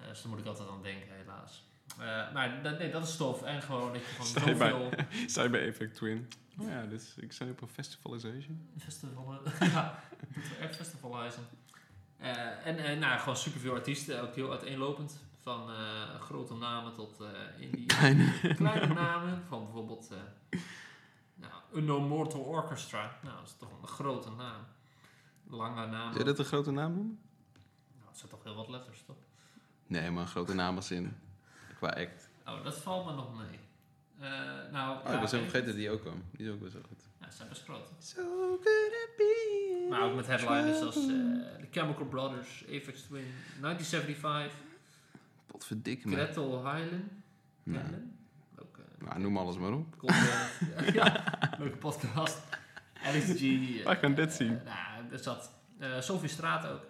[SPEAKER 2] Eh, dus daar moet ik altijd aan denken, helaas. Eh, maar dat, nee, dat is tof. En gewoon dat je
[SPEAKER 3] Sta
[SPEAKER 2] gewoon
[SPEAKER 3] je bij-
[SPEAKER 2] zoveel...
[SPEAKER 3] Zij bij Effect Twin. Oh ja, dus ik zei op een festivalization.
[SPEAKER 2] Festivalen. ja, moeten we echt festivalizen. Eh, en eh, nou, gewoon superveel artiesten, ook heel uiteenlopend. Van eh, grote namen tot eh, indie. Kleine namen, van bijvoorbeeld eh nou, Unknown Mortal Orchestra. Nou, dat is toch een grote naam. Lange naam.
[SPEAKER 3] Zou je dat een grote naam noemen?
[SPEAKER 2] Nou, het zijn toch heel wat letters, toch?
[SPEAKER 1] Nee, maar een grote naam als in qua act.
[SPEAKER 2] Oh, dat valt me nog mee. Eh, nou,
[SPEAKER 1] Oh, ik was
[SPEAKER 2] weet-
[SPEAKER 1] helemaal vergeten dat die ook kwam. Die is ook best wel goed.
[SPEAKER 2] Ja, ze hebben groot.
[SPEAKER 1] So good at being
[SPEAKER 2] Maar ook met headliners als eh The Chemical Brothers, Apex Twin, 1975,
[SPEAKER 1] Potverdikke me.
[SPEAKER 2] Gretel Highland.
[SPEAKER 1] Nou,
[SPEAKER 2] Highland? Ook eh,
[SPEAKER 1] nou, noem alles maar op.
[SPEAKER 2] Colbert. ja, leuke podcast. Alex G. eh,
[SPEAKER 1] Waar kan dit zien?
[SPEAKER 2] eh, nou, dat zat. eh Sophie Straat ook.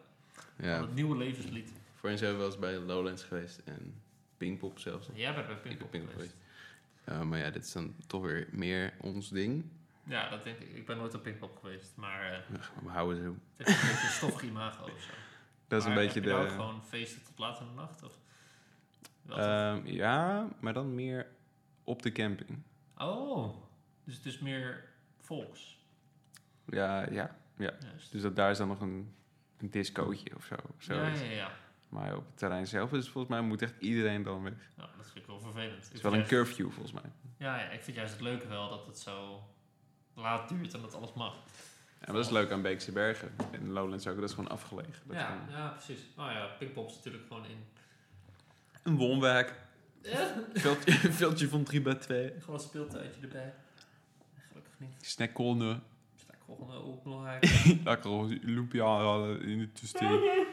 [SPEAKER 1] Ja,
[SPEAKER 2] Het nieuwe levenslied.
[SPEAKER 1] voorheen zijn we wel eens bij Lowlands geweest en Pinkpop zelfs.
[SPEAKER 2] Jij bent bij
[SPEAKER 1] Ik ben
[SPEAKER 2] Pinkpop
[SPEAKER 1] Pinkpop
[SPEAKER 2] geweest.
[SPEAKER 1] geweest. Eh, maar ja, dit is dan toch weer meer ons ding.
[SPEAKER 2] Ja, dat denk ik. Ik ben nooit op Pinkpop geweest, maar eh,
[SPEAKER 1] We houden zo.
[SPEAKER 2] het is een beetje een stoffig imago of zo.
[SPEAKER 1] Dat is een
[SPEAKER 2] Maar
[SPEAKER 1] beetje
[SPEAKER 2] heb je nou ook
[SPEAKER 1] de...
[SPEAKER 2] gewoon feesten tot laat in de nacht? Of? Wel
[SPEAKER 1] Ehm, ja, maar dan meer op de camping.
[SPEAKER 2] toch? oh, dus het is meer volks.
[SPEAKER 1] Ja, ja.
[SPEAKER 2] Juist.
[SPEAKER 1] Dus dat, daar is dan nog een, een discootje of zo. zo
[SPEAKER 2] ja, ja, ja.
[SPEAKER 1] Maar op het terrein zelf is volgens mij moet echt iedereen dan weg.
[SPEAKER 2] Nou, dat vind ik wel vervelend.
[SPEAKER 1] Het is wel een curfew volgens mij.
[SPEAKER 2] Ja, ja, ik vind juist het leuke wel dat het zo laat duurt en dat alles mag.
[SPEAKER 1] En dat is leuk aan Beekse Bergen. En Lowlands ook, dat is gewoon afgelegen. Dat is
[SPEAKER 2] ja,
[SPEAKER 1] gewoon-
[SPEAKER 2] ja, precies. Nou ja, Pinkpop is natuurlijk gewoon in.
[SPEAKER 1] Een woonwijk,
[SPEAKER 2] Eh,
[SPEAKER 1] veldje, veldje van 3 bij 2.
[SPEAKER 2] gewoon een speeltuintje erbij. Gelukkig niet.
[SPEAKER 1] Snackkonnen,
[SPEAKER 2] Sta ik gewoon eh, op nog
[SPEAKER 1] lekker lumpia in de tussentijd.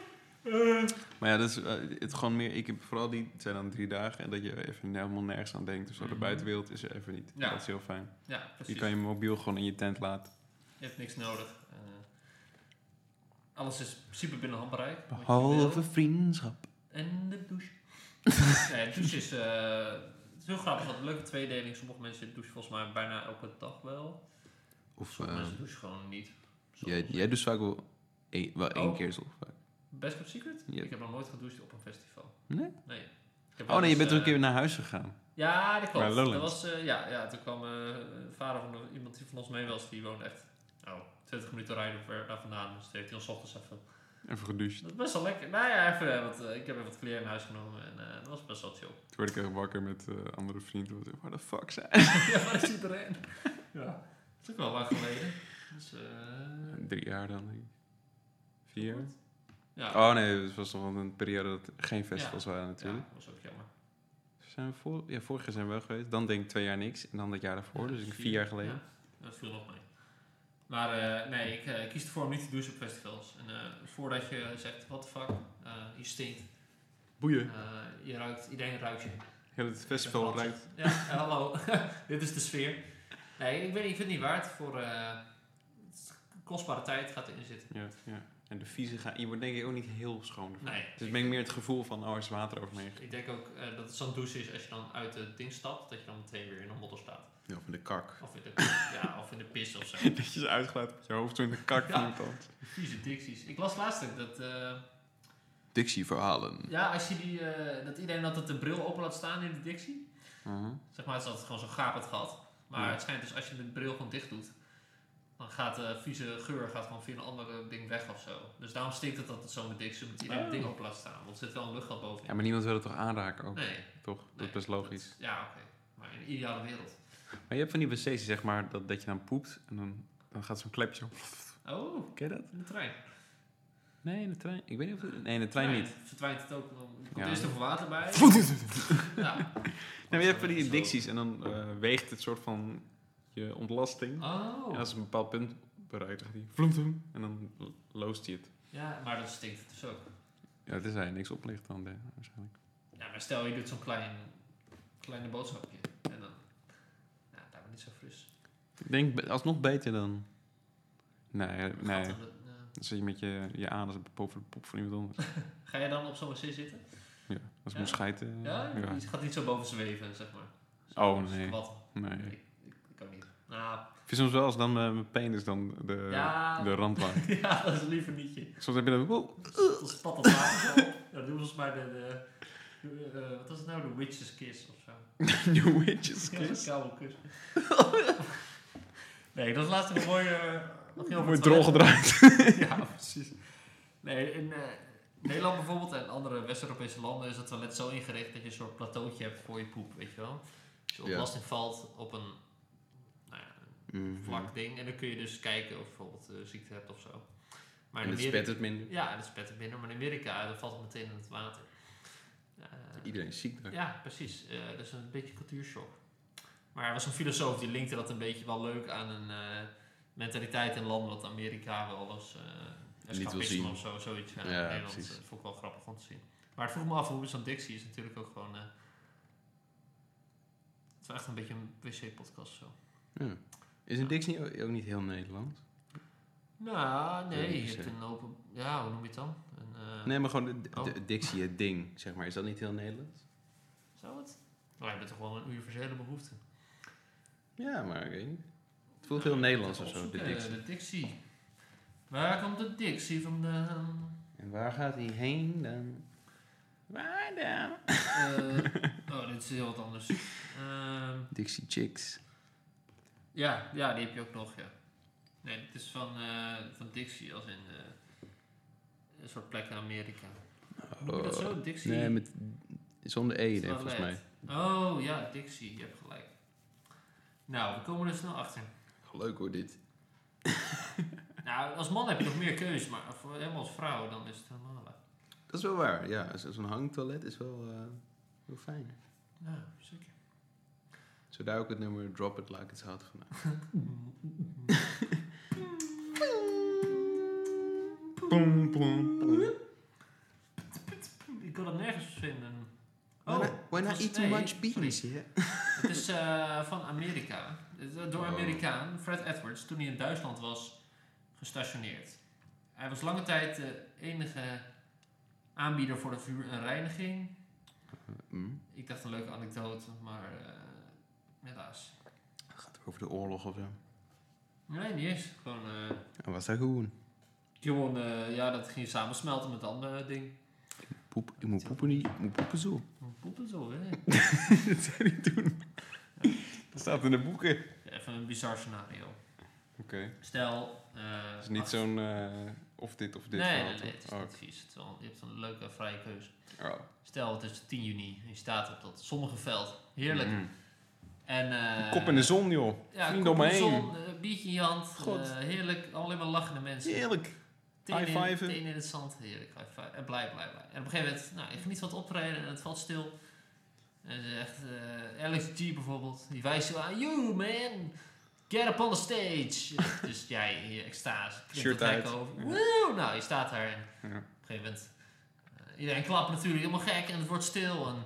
[SPEAKER 1] Maar ja, dat is, eh, het gewoon meer. Ik heb vooral die het zijn dan drie dagen en dat je even helemaal nergens aan denkt. Dus zo de
[SPEAKER 2] Mhm.
[SPEAKER 1] buitenwereld is er even niet.
[SPEAKER 2] Ja.
[SPEAKER 1] Dat is heel fijn.
[SPEAKER 2] Ja, precies.
[SPEAKER 1] Je kan je mobiel gewoon in je tent laten.
[SPEAKER 2] Je hebt niks nodig. Eh, alles is in principe binnen handbereik. wat je
[SPEAKER 1] Behalve
[SPEAKER 2] wil.
[SPEAKER 1] vriendschap.
[SPEAKER 2] En de douche. nee, de douche is... eh, het is heel grappig, want een leuke tweedeling. Sommige mensen douchen volgens mij bijna elke dag wel.
[SPEAKER 1] Of
[SPEAKER 2] Sommige
[SPEAKER 1] eh,
[SPEAKER 2] mensen douchen gewoon niet.
[SPEAKER 1] jij,
[SPEAKER 2] Soms-
[SPEAKER 1] jij doet vaak wel, één- wel één
[SPEAKER 2] Oh.
[SPEAKER 1] keer zo vaak.
[SPEAKER 2] Best of Secret?
[SPEAKER 1] Ja.
[SPEAKER 2] Ik heb nog nooit gedoucht op een festival.
[SPEAKER 1] Nee?
[SPEAKER 2] Nee. Ik heb wel
[SPEAKER 1] Oh nee, je
[SPEAKER 2] eens,
[SPEAKER 1] bent er een
[SPEAKER 2] eh,
[SPEAKER 1] keer naar huis gegaan.
[SPEAKER 2] Ja, dat klopt.
[SPEAKER 1] Bij
[SPEAKER 2] Dat
[SPEAKER 1] Lowlands.
[SPEAKER 2] was, eh, ja, ja, toen kwam eh, een vader van een- iemand die van ons mee was, die woonde echt oh, 20 minuten rijden ver daar vandaan. Dus die heeft hij ons ochtends even.
[SPEAKER 1] Even gedoucht.
[SPEAKER 2] Dat was best wel lekker. Nou ja, even, eh, wat, eh, ik heb even wat kleren in huis genomen en eh, dat was best wel chill.
[SPEAKER 1] Toen werd ik echt wakker met eh, andere vrienden. Wat waar de fuck zijn?
[SPEAKER 2] ja, waar is iedereen? ja. Dat is ook wel lang geleden. Dus, eh,
[SPEAKER 1] Drie jaar dan. denk ik. Vier jaar?
[SPEAKER 2] ja.
[SPEAKER 1] Oh nee, het was nog wel een periode dat er geen festivals waren
[SPEAKER 2] ja,
[SPEAKER 1] natuurlijk.
[SPEAKER 2] dat was ook jammer.
[SPEAKER 1] Zijn we voor, ja, vorig jaar zijn we wel geweest. Dan denk ik twee jaar niks. En dan dat jaar daarvoor.
[SPEAKER 2] Ja,
[SPEAKER 1] dus ik vier jaar geleden.
[SPEAKER 2] Ja, dat viel nog mee. Maar eh, nee, ik eh, kies ervoor om niet te douchen op festivals. En eh, voordat je zegt, what the fuck, eh, je stinkt.
[SPEAKER 1] Boeien.
[SPEAKER 2] eh, je ruikt, iedereen ruikt je.
[SPEAKER 1] Heel het festival
[SPEAKER 2] Dat-
[SPEAKER 1] ruikt.
[SPEAKER 2] Ja, eh, hallo. Dit is de sfeer. Nee, ik, weet, niet, ik vind het niet waard voor eh, het is kostbare tijd gaat erin zitten.
[SPEAKER 1] Ja, ja. En de vieze gaat. Je wordt denk ik ook niet heel schoon ervan.
[SPEAKER 2] Nee.
[SPEAKER 1] Dus ben ik meer het gevoel van, oh, er is water over me heen.
[SPEAKER 2] Ik denk ook eh, dat het zo'n douche is als je dan uit het ding stapt, dat je dan meteen weer in de modder staat.
[SPEAKER 1] Ja, van de kak.
[SPEAKER 2] Of in de, ja, of in de pis of zo.
[SPEAKER 1] Dat je is uitgelaten met je hoofd zo in de kak
[SPEAKER 2] Ja.
[SPEAKER 1] van iemand.
[SPEAKER 2] Vieze dicties. Ik las laatst ook dat... eh,
[SPEAKER 1] Dictie-verhalen.
[SPEAKER 2] Ja, als je die, eh, dat iedereen altijd de bril open laat staan in de dictie.
[SPEAKER 1] Mhm.
[SPEAKER 2] Zeg maar, het is altijd gewoon zo'n gapend gat. Maar
[SPEAKER 1] Ja.
[SPEAKER 2] het schijnt dus als je de bril gewoon dicht doet, dan gaat de vieze geur gaat gewoon via een ander ding weg of zo. Dus daarom stinkt het altijd zo met dictie, omdat iedereen het
[SPEAKER 1] Oh.
[SPEAKER 2] ding open laat staan. Want er zit wel een luchtgat bovenin.
[SPEAKER 1] Ja, maar niemand wil het toch aanraken ook,
[SPEAKER 2] nee,
[SPEAKER 1] toch? Dat
[SPEAKER 2] nee,
[SPEAKER 1] is best logisch.
[SPEAKER 2] dat- ja, oké. Maar in een ideale wereld.
[SPEAKER 1] Maar je hebt van die wc's, die zeg maar, dat, dat je dan poept en dan, dan gaat zo'n klepje op.
[SPEAKER 2] Oh,
[SPEAKER 1] Ken je dat?
[SPEAKER 2] in de trein.
[SPEAKER 1] Nee, in de trein. Ik weet niet of... Nee, in de trein niet.
[SPEAKER 2] Verdwijnt het ook. Dan komt
[SPEAKER 1] Ja.
[SPEAKER 2] eerst even water bij. ja.
[SPEAKER 1] Nou, je hebt van die
[SPEAKER 2] Zo.
[SPEAKER 1] dicties en dan eh, weegt het soort van je ontlasting.
[SPEAKER 2] Oh.
[SPEAKER 1] En als het een bepaald punt bereikt, dan gaat die vloem, vloem, en dan lo- loost hij het.
[SPEAKER 2] Ja, maar dat stinkt het dus ook.
[SPEAKER 1] Ja, het is eigenlijk niks oplicht dan, eh, waarschijnlijk.
[SPEAKER 2] Ja, Nou, maar stel je doet zo'n klein, kleine boodschapje. En dan. Nou, daar ben ik niet zo fris.
[SPEAKER 1] Ik denk be- alsnog beter dan... Nee,
[SPEAKER 2] Gaat
[SPEAKER 1] nee.
[SPEAKER 2] dat, eh,
[SPEAKER 1] Dan zit je met je, je anus boven de pop van iemand anders.
[SPEAKER 2] ga je dan op zo'n wc zitten?
[SPEAKER 1] Ja, als
[SPEAKER 2] Ja.
[SPEAKER 1] moet scheiden.
[SPEAKER 2] Ja,
[SPEAKER 1] eh, ja.
[SPEAKER 2] je gaat niet zo boven zweven, zeg maar. Zo,
[SPEAKER 1] Oh,
[SPEAKER 2] zo
[SPEAKER 1] nee.
[SPEAKER 2] Wat?
[SPEAKER 1] Nee.
[SPEAKER 2] Ik, ik, ik kan niet. Nou,
[SPEAKER 1] Ik vind soms wel als dan eh, mijn penis dan de,
[SPEAKER 2] Ja.
[SPEAKER 1] de rand waait.
[SPEAKER 2] ja, dat is liever nietje.
[SPEAKER 1] Soms heb je oh, dan... wow,
[SPEAKER 2] Dat is pad op water. Dat doen volgens mij de. de eh, wat is het nou? De Witch's Kiss of zo.
[SPEAKER 1] New Witches
[SPEAKER 2] Ja,
[SPEAKER 1] Kiss.
[SPEAKER 2] Een koude kus. nee, dat is laatst een mooie... eh, wat ging over
[SPEAKER 1] Wordt
[SPEAKER 2] het
[SPEAKER 1] drol
[SPEAKER 2] toilet.
[SPEAKER 1] gedraaid.
[SPEAKER 2] ja, precies. Nee, in eh, Nederland bijvoorbeeld en andere West-Europese landen is het toilet zo ingericht dat je een soort plateautje hebt voor je poep, weet je wel. Dus je
[SPEAKER 1] Ja.
[SPEAKER 2] ontlasting valt op een, nou ja,
[SPEAKER 1] Mm. Mhm.
[SPEAKER 2] een vlak ding en dan kun je dus kijken of je bijvoorbeeld eh, ziekte hebt of zo. Maar in
[SPEAKER 1] En het
[SPEAKER 2] Amerika,
[SPEAKER 1] spet het minder.
[SPEAKER 2] ja, en het spet er binnen, maar in Amerika eh, dan valt het meteen in het water.
[SPEAKER 3] Iedereen is ziek daar.
[SPEAKER 2] Ja, precies. Eh, dat is een beetje cultuurshock. Maar er was een filosoof die linkte dat een beetje wel leuk aan een eh, mentaliteit in landen wat Amerika wel was. eh
[SPEAKER 3] wil
[SPEAKER 2] escapisme
[SPEAKER 3] zien.
[SPEAKER 2] of zo, zoiets. Ja, in
[SPEAKER 3] Ja,
[SPEAKER 2] Nederland.
[SPEAKER 3] precies.
[SPEAKER 2] Dat vond ik wel grappig om te zien. Maar het vroeg me af, hoe is dan Dixie? Is natuurlijk ook gewoon. eh, het is wel echt een beetje een wc-podcast zo.
[SPEAKER 3] Ja. Is een Dixie ook- ook niet heel Nederland?
[SPEAKER 2] Nou,
[SPEAKER 3] Ja,
[SPEAKER 2] nee. Je
[SPEAKER 3] per
[SPEAKER 2] hebt
[SPEAKER 3] se.
[SPEAKER 2] een open. Ja, hoe noem je het dan? Een, eh,
[SPEAKER 3] Nee, maar gewoon de,
[SPEAKER 2] Oh.
[SPEAKER 3] de- Dixie, het ding, zeg maar. Is dat niet heel Nederland?
[SPEAKER 2] Zou het? Nou, je bent toch wel een universele behoefte.
[SPEAKER 3] Ja, maar ik weet niet. Het voelt heel Nederlands of zo, de
[SPEAKER 2] Opzoeken, eh,
[SPEAKER 3] Dixie.
[SPEAKER 2] De Dixie. Waar komt de Dixie vandaan?
[SPEAKER 3] En waar gaat hij heen dan? Waar dan?
[SPEAKER 2] Eh, oh, dit is heel wat anders. Ehm,
[SPEAKER 3] Dixie Chicks.
[SPEAKER 2] ja, ja, die heb je ook nog, ja. Nee, dit is van, eh, van Dixie, als in eh, een soort plek in Amerika. Noem je dat zo? Dixie?
[SPEAKER 3] Oh. Nee, met, zonder E, denk ik,
[SPEAKER 2] Toilet.
[SPEAKER 3] volgens mij.
[SPEAKER 2] Oh, ja, Dixie, je hebt gelijk. Nou, we komen er snel achter.
[SPEAKER 3] Leuk hoor, dit.
[SPEAKER 2] Nou, als man heb je nog meer keus, maar voor, helemaal als vrouw, dan is het helemaal leuk.
[SPEAKER 3] Dat is wel waar, ja. Zo- Zo'n hangtoilet is wel eh, heel fijn.
[SPEAKER 2] Nou, zeker.
[SPEAKER 3] Zo daar ook het nummer Drop It Like It's Hot vandaan. Boom, boom, boom.
[SPEAKER 2] Ik kon dat nergens vinden.
[SPEAKER 3] Why
[SPEAKER 2] Oh,
[SPEAKER 3] not- why
[SPEAKER 2] het
[SPEAKER 3] not
[SPEAKER 2] was-
[SPEAKER 3] eat too
[SPEAKER 2] nee,
[SPEAKER 3] much
[SPEAKER 2] sorry.
[SPEAKER 3] beans, yeah?
[SPEAKER 2] Het is eh, van Amerika. Het is Door
[SPEAKER 3] Oh.
[SPEAKER 2] Amerikaan Fred Edwards toen hij in Duitsland was gestationeerd. Hij was lange tijd de enige aanbieder voor de vuur en reiniging.
[SPEAKER 3] Mm.
[SPEAKER 2] Ik dacht een leuke anekdote, maar eh, helaas.
[SPEAKER 3] Gaat het over de oorlog of zo?
[SPEAKER 2] Nee, niet eens. Gewoon, eh,
[SPEAKER 3] En was dat gewoon?
[SPEAKER 2] gewoon eh, ja, dat ging samen smelten met het andere ding.
[SPEAKER 3] Poep, ik moet poepen niet, ik moet poepen zo.
[SPEAKER 2] Poepen zo, hè?
[SPEAKER 3] dat zei hij toen. Dat staat in de boeken. Oké.
[SPEAKER 2] Even een bizar scenario. Stel... eh,
[SPEAKER 3] Het is niet
[SPEAKER 2] acht-
[SPEAKER 3] zo'n eh, of dit of
[SPEAKER 2] Nee,
[SPEAKER 3] dit. verhaal,
[SPEAKER 2] nee, nee, het
[SPEAKER 3] toch?
[SPEAKER 2] is
[SPEAKER 3] Oh,
[SPEAKER 2] niet vies. Het is wel- je hebt een leuke vrije keuze.
[SPEAKER 3] oké. Oh.
[SPEAKER 2] Stel, het is 10 juni en je staat op dat zonnige veld. Heerlijk.
[SPEAKER 3] Mm.
[SPEAKER 2] En, eh,
[SPEAKER 3] Kop in de zon, joh.
[SPEAKER 2] Ja,
[SPEAKER 3] Vrienden
[SPEAKER 2] kop in de
[SPEAKER 3] omheen.
[SPEAKER 2] zon, eh, biertje in je hand.
[SPEAKER 3] God.
[SPEAKER 2] eh, heerlijk, alleen maar lachende mensen.
[SPEAKER 3] Heerlijk.
[SPEAKER 2] Teen in-
[SPEAKER 3] high fiven.
[SPEAKER 2] Teen in het zand, heerlijk. High five. En blij, blij, blij. En op een gegeven moment, nou, ik geniet van het optreden en het valt stil. En het is echt, eh, Alex G bijvoorbeeld, die wijst zo aan, you man, get up on the stage. dus jij in je extase, knipt
[SPEAKER 3] Shirt
[SPEAKER 2] het hek
[SPEAKER 3] uit.
[SPEAKER 2] over.
[SPEAKER 3] Ja.
[SPEAKER 2] Woe! Nou, je staat daar en
[SPEAKER 3] Ja.
[SPEAKER 2] op een gegeven moment, eh, iedereen klapt natuurlijk helemaal gek en het wordt stil. En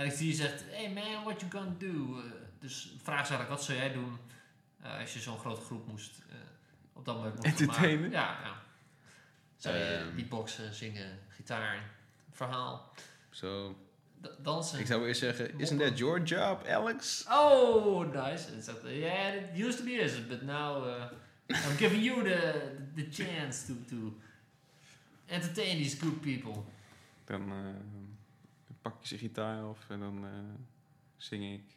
[SPEAKER 2] Alex D zegt, hey man, what you gonna do? Eh, dus de vraag is eigenlijk, wat zou jij doen eh, als je zo'n grote groep moest eh, op dat moment moest
[SPEAKER 3] Entertainen?
[SPEAKER 2] maken? Ja, ja. Zou je
[SPEAKER 3] Ehm.
[SPEAKER 2] beatboxen, zingen, gitaar, verhaal,
[SPEAKER 3] Zo.
[SPEAKER 2] da- dansen?
[SPEAKER 3] Ik zou eerst zeggen, isn't
[SPEAKER 2] Moppen.
[SPEAKER 3] that your job, Alex?
[SPEAKER 2] Oh, nice. En zegt, yeah, it used to be this, but now uh, I'm giving you the, the chance to, to entertain these good people.
[SPEAKER 1] Dan eh, pak je zijn gitaar af en dan eh, zing ik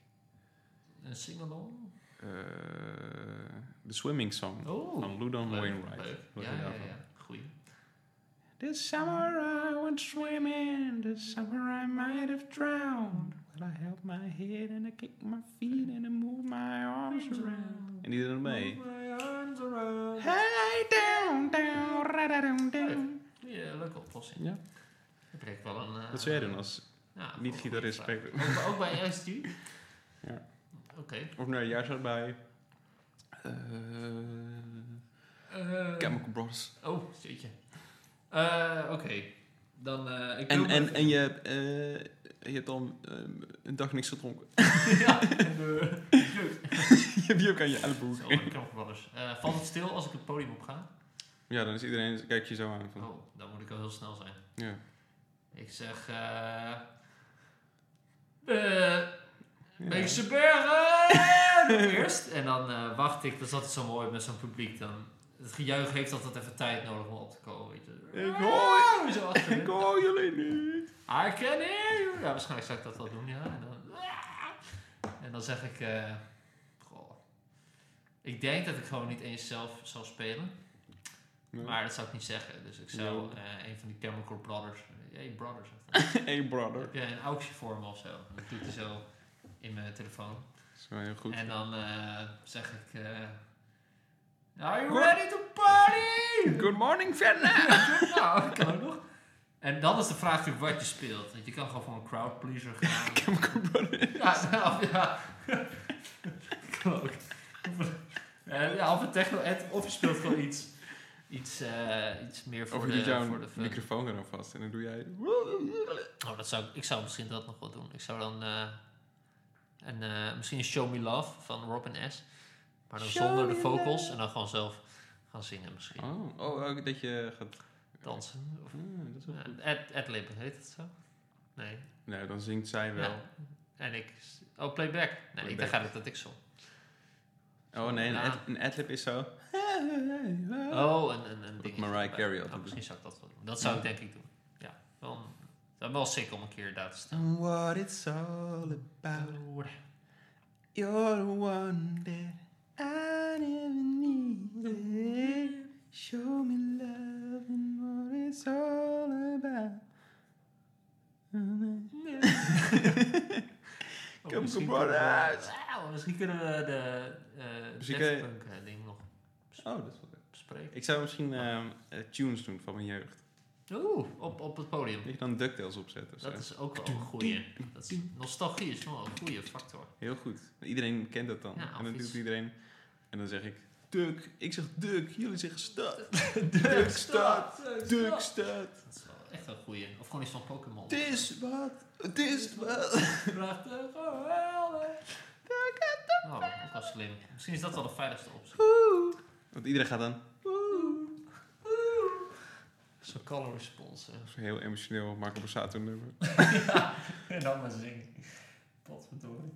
[SPEAKER 2] Een sing-along?
[SPEAKER 1] eh, de swimming song
[SPEAKER 2] Oh,
[SPEAKER 1] van Ludan
[SPEAKER 2] leuk,
[SPEAKER 1] Wainwright.
[SPEAKER 2] leuk.
[SPEAKER 1] Wat
[SPEAKER 2] Ja,
[SPEAKER 1] je
[SPEAKER 2] ja,
[SPEAKER 1] daarvan-
[SPEAKER 2] ja. Goeie.
[SPEAKER 1] This summer I went swimming, this summer I might have drowned. But I held my head and I kicked my feet and I moved my arms around.
[SPEAKER 3] En die doet mee.
[SPEAKER 2] My arms around.
[SPEAKER 1] Hey, down, down, ra-da-down, down.
[SPEAKER 2] Ja, leuke oplossing.
[SPEAKER 1] Ja.
[SPEAKER 2] Dat breekt wel een... eh,
[SPEAKER 1] Wat zou jij doen als
[SPEAKER 2] ja,
[SPEAKER 1] niet
[SPEAKER 2] voor een goede
[SPEAKER 1] gitarist
[SPEAKER 2] vraag.
[SPEAKER 1] speler?
[SPEAKER 2] Ook, ook bij LSD?
[SPEAKER 1] Ja.
[SPEAKER 2] Oké.
[SPEAKER 1] Of nee, jij zat bij eh
[SPEAKER 2] Eh,
[SPEAKER 1] Chemical Brothers.
[SPEAKER 2] oh, jeetje. Eh, Oké. Dan, eh, ik
[SPEAKER 1] En,
[SPEAKER 2] wil
[SPEAKER 1] en,
[SPEAKER 2] maar-
[SPEAKER 1] en je, hebt, eh, je hebt dan ehm, een dag niks gedronken.
[SPEAKER 2] ja, en de...
[SPEAKER 1] je hebt die ook aan je elleboog.
[SPEAKER 2] Zo, ik kan brothers. Eh, valt het stil als ik het podium op ga?
[SPEAKER 1] Ja, dan is iedereen, kijk je zo aan. Van,
[SPEAKER 2] Oh, dan moet ik wel heel snel zijn.
[SPEAKER 1] ja.
[SPEAKER 2] Ik zeg... eh eh,
[SPEAKER 1] Ja.
[SPEAKER 2] Beekse Bergen! Eerst. En dan eh, wacht ik, dat is altijd zo mooi met zo'n publiek. Dan, het gejuich heeft altijd even tijd nodig om op te komen. Weet je.
[SPEAKER 1] Ik hoor-
[SPEAKER 2] Zo achterin.
[SPEAKER 1] Ik hoor jullie niet.
[SPEAKER 2] I can hear you! Ja, waarschijnlijk zou ik dat wel doen, ja. En dan, en dan zeg ik... eh, goh. Ik denk dat ik gewoon niet eens zelf zou spelen.
[SPEAKER 1] Nee.
[SPEAKER 2] Maar dat zou ik niet zeggen. Dus ik zou
[SPEAKER 1] Ja.
[SPEAKER 2] eh, een van die Chemical Brothers... Hey, brothers. zegt hij.
[SPEAKER 1] Hey brother.
[SPEAKER 2] Heb jij een auxie voor me of zo? En Dat doet hij zo in mijn telefoon.
[SPEAKER 1] Dat is wel heel goed.
[SPEAKER 2] En dan eh, zeg ik... eh, Are you
[SPEAKER 1] Good-
[SPEAKER 2] ready to party?
[SPEAKER 1] Good morning Vietnam!
[SPEAKER 2] nou, kan ook nog. En dan is de vraag natuurlijk wat je speelt. Want je kan gewoon voor een crowd pleaser gaan.
[SPEAKER 1] Chemical Brothers.
[SPEAKER 2] ja, nou, ja. kan ook. Of- eh, Ja, of een techno act, of je speelt gewoon iets, iets, eh, iets meer voor
[SPEAKER 1] Of je
[SPEAKER 2] de,
[SPEAKER 1] doet
[SPEAKER 2] voor
[SPEAKER 1] jouw
[SPEAKER 2] de fun.
[SPEAKER 1] microfoon er dan vast en dan doe jij...
[SPEAKER 2] Oh, dat zou, ik zou misschien dat nog wel doen. Ik zou dan eh, een, eh, misschien een Show Me Love van Robin S. Maar dan
[SPEAKER 3] Show
[SPEAKER 2] zonder de
[SPEAKER 3] me
[SPEAKER 2] vocals
[SPEAKER 3] love.
[SPEAKER 2] en dan gewoon zelf gaan zingen misschien.
[SPEAKER 1] Oh, oh ook dat je gaat...
[SPEAKER 2] Dansen. Of,
[SPEAKER 1] Ah, dat is wel goed.
[SPEAKER 2] eh, ad, adlibben, heet dat zo? Nee.
[SPEAKER 1] Nou, dan zingt zij wel.
[SPEAKER 2] Ja. En ik... Oh, playback. Nee, ik dacht
[SPEAKER 1] Playback.
[SPEAKER 2] eigenlijk dat ik zong.
[SPEAKER 1] Oh nee, een,
[SPEAKER 2] Ja.
[SPEAKER 1] ad, een adlib is zo...
[SPEAKER 2] Oh, en, en, en
[SPEAKER 1] Wat
[SPEAKER 2] ding
[SPEAKER 1] Mariah
[SPEAKER 2] is-
[SPEAKER 1] Carey
[SPEAKER 2] Oh,
[SPEAKER 1] altijd
[SPEAKER 2] Misschien zou ik dat wel doen. Dat zou ik denk ik doen. Ja, wel, een- dat is wel sick om een keer daar te staan. Oh,
[SPEAKER 1] And what it's all about. You're the one that I never needed. Show me love and what it's all about.
[SPEAKER 2] Oh,
[SPEAKER 1] Chemical
[SPEAKER 2] misschien kunnen we-
[SPEAKER 1] Brothers.
[SPEAKER 2] Ah, misschien kunnen we de eh
[SPEAKER 1] Misschien
[SPEAKER 2] Daft
[SPEAKER 1] kun je-
[SPEAKER 2] Punk eh, ding nog
[SPEAKER 1] Oh, dat is wel leuk.
[SPEAKER 2] bespreken.
[SPEAKER 1] Ik zou misschien ehm, eh, tunes doen van mijn jeugd.
[SPEAKER 2] Oeh, op, op het podium.
[SPEAKER 1] Dat je dan DuckTales opzet of zo.
[SPEAKER 2] Dat is ook wel een goeie. Dat is, nostalgie is wel een goede factor.
[SPEAKER 1] Heel goed. Iedereen kent dat dan.
[SPEAKER 2] Ja,
[SPEAKER 1] en dan
[SPEAKER 2] of iets.
[SPEAKER 1] doet iedereen. En dan zeg ik... Duk. Ik zeg Duk. Jullie zeggen stad.
[SPEAKER 2] Dukstad.
[SPEAKER 1] Duk stad.
[SPEAKER 2] Dat is wel echt een goeie. Of gewoon iets van Pokémon.
[SPEAKER 1] Het is wat. Het is wat.
[SPEAKER 2] Prachtig, geweldig. Nou, ook wel slim. Misschien is dat wel de veiligste optie.
[SPEAKER 1] Want iedereen gaat dan...
[SPEAKER 2] Zo'n color response.
[SPEAKER 1] Dat is een heel emotioneel Marco Borsato nummer.
[SPEAKER 2] En dan maar zingen. Potverdorie.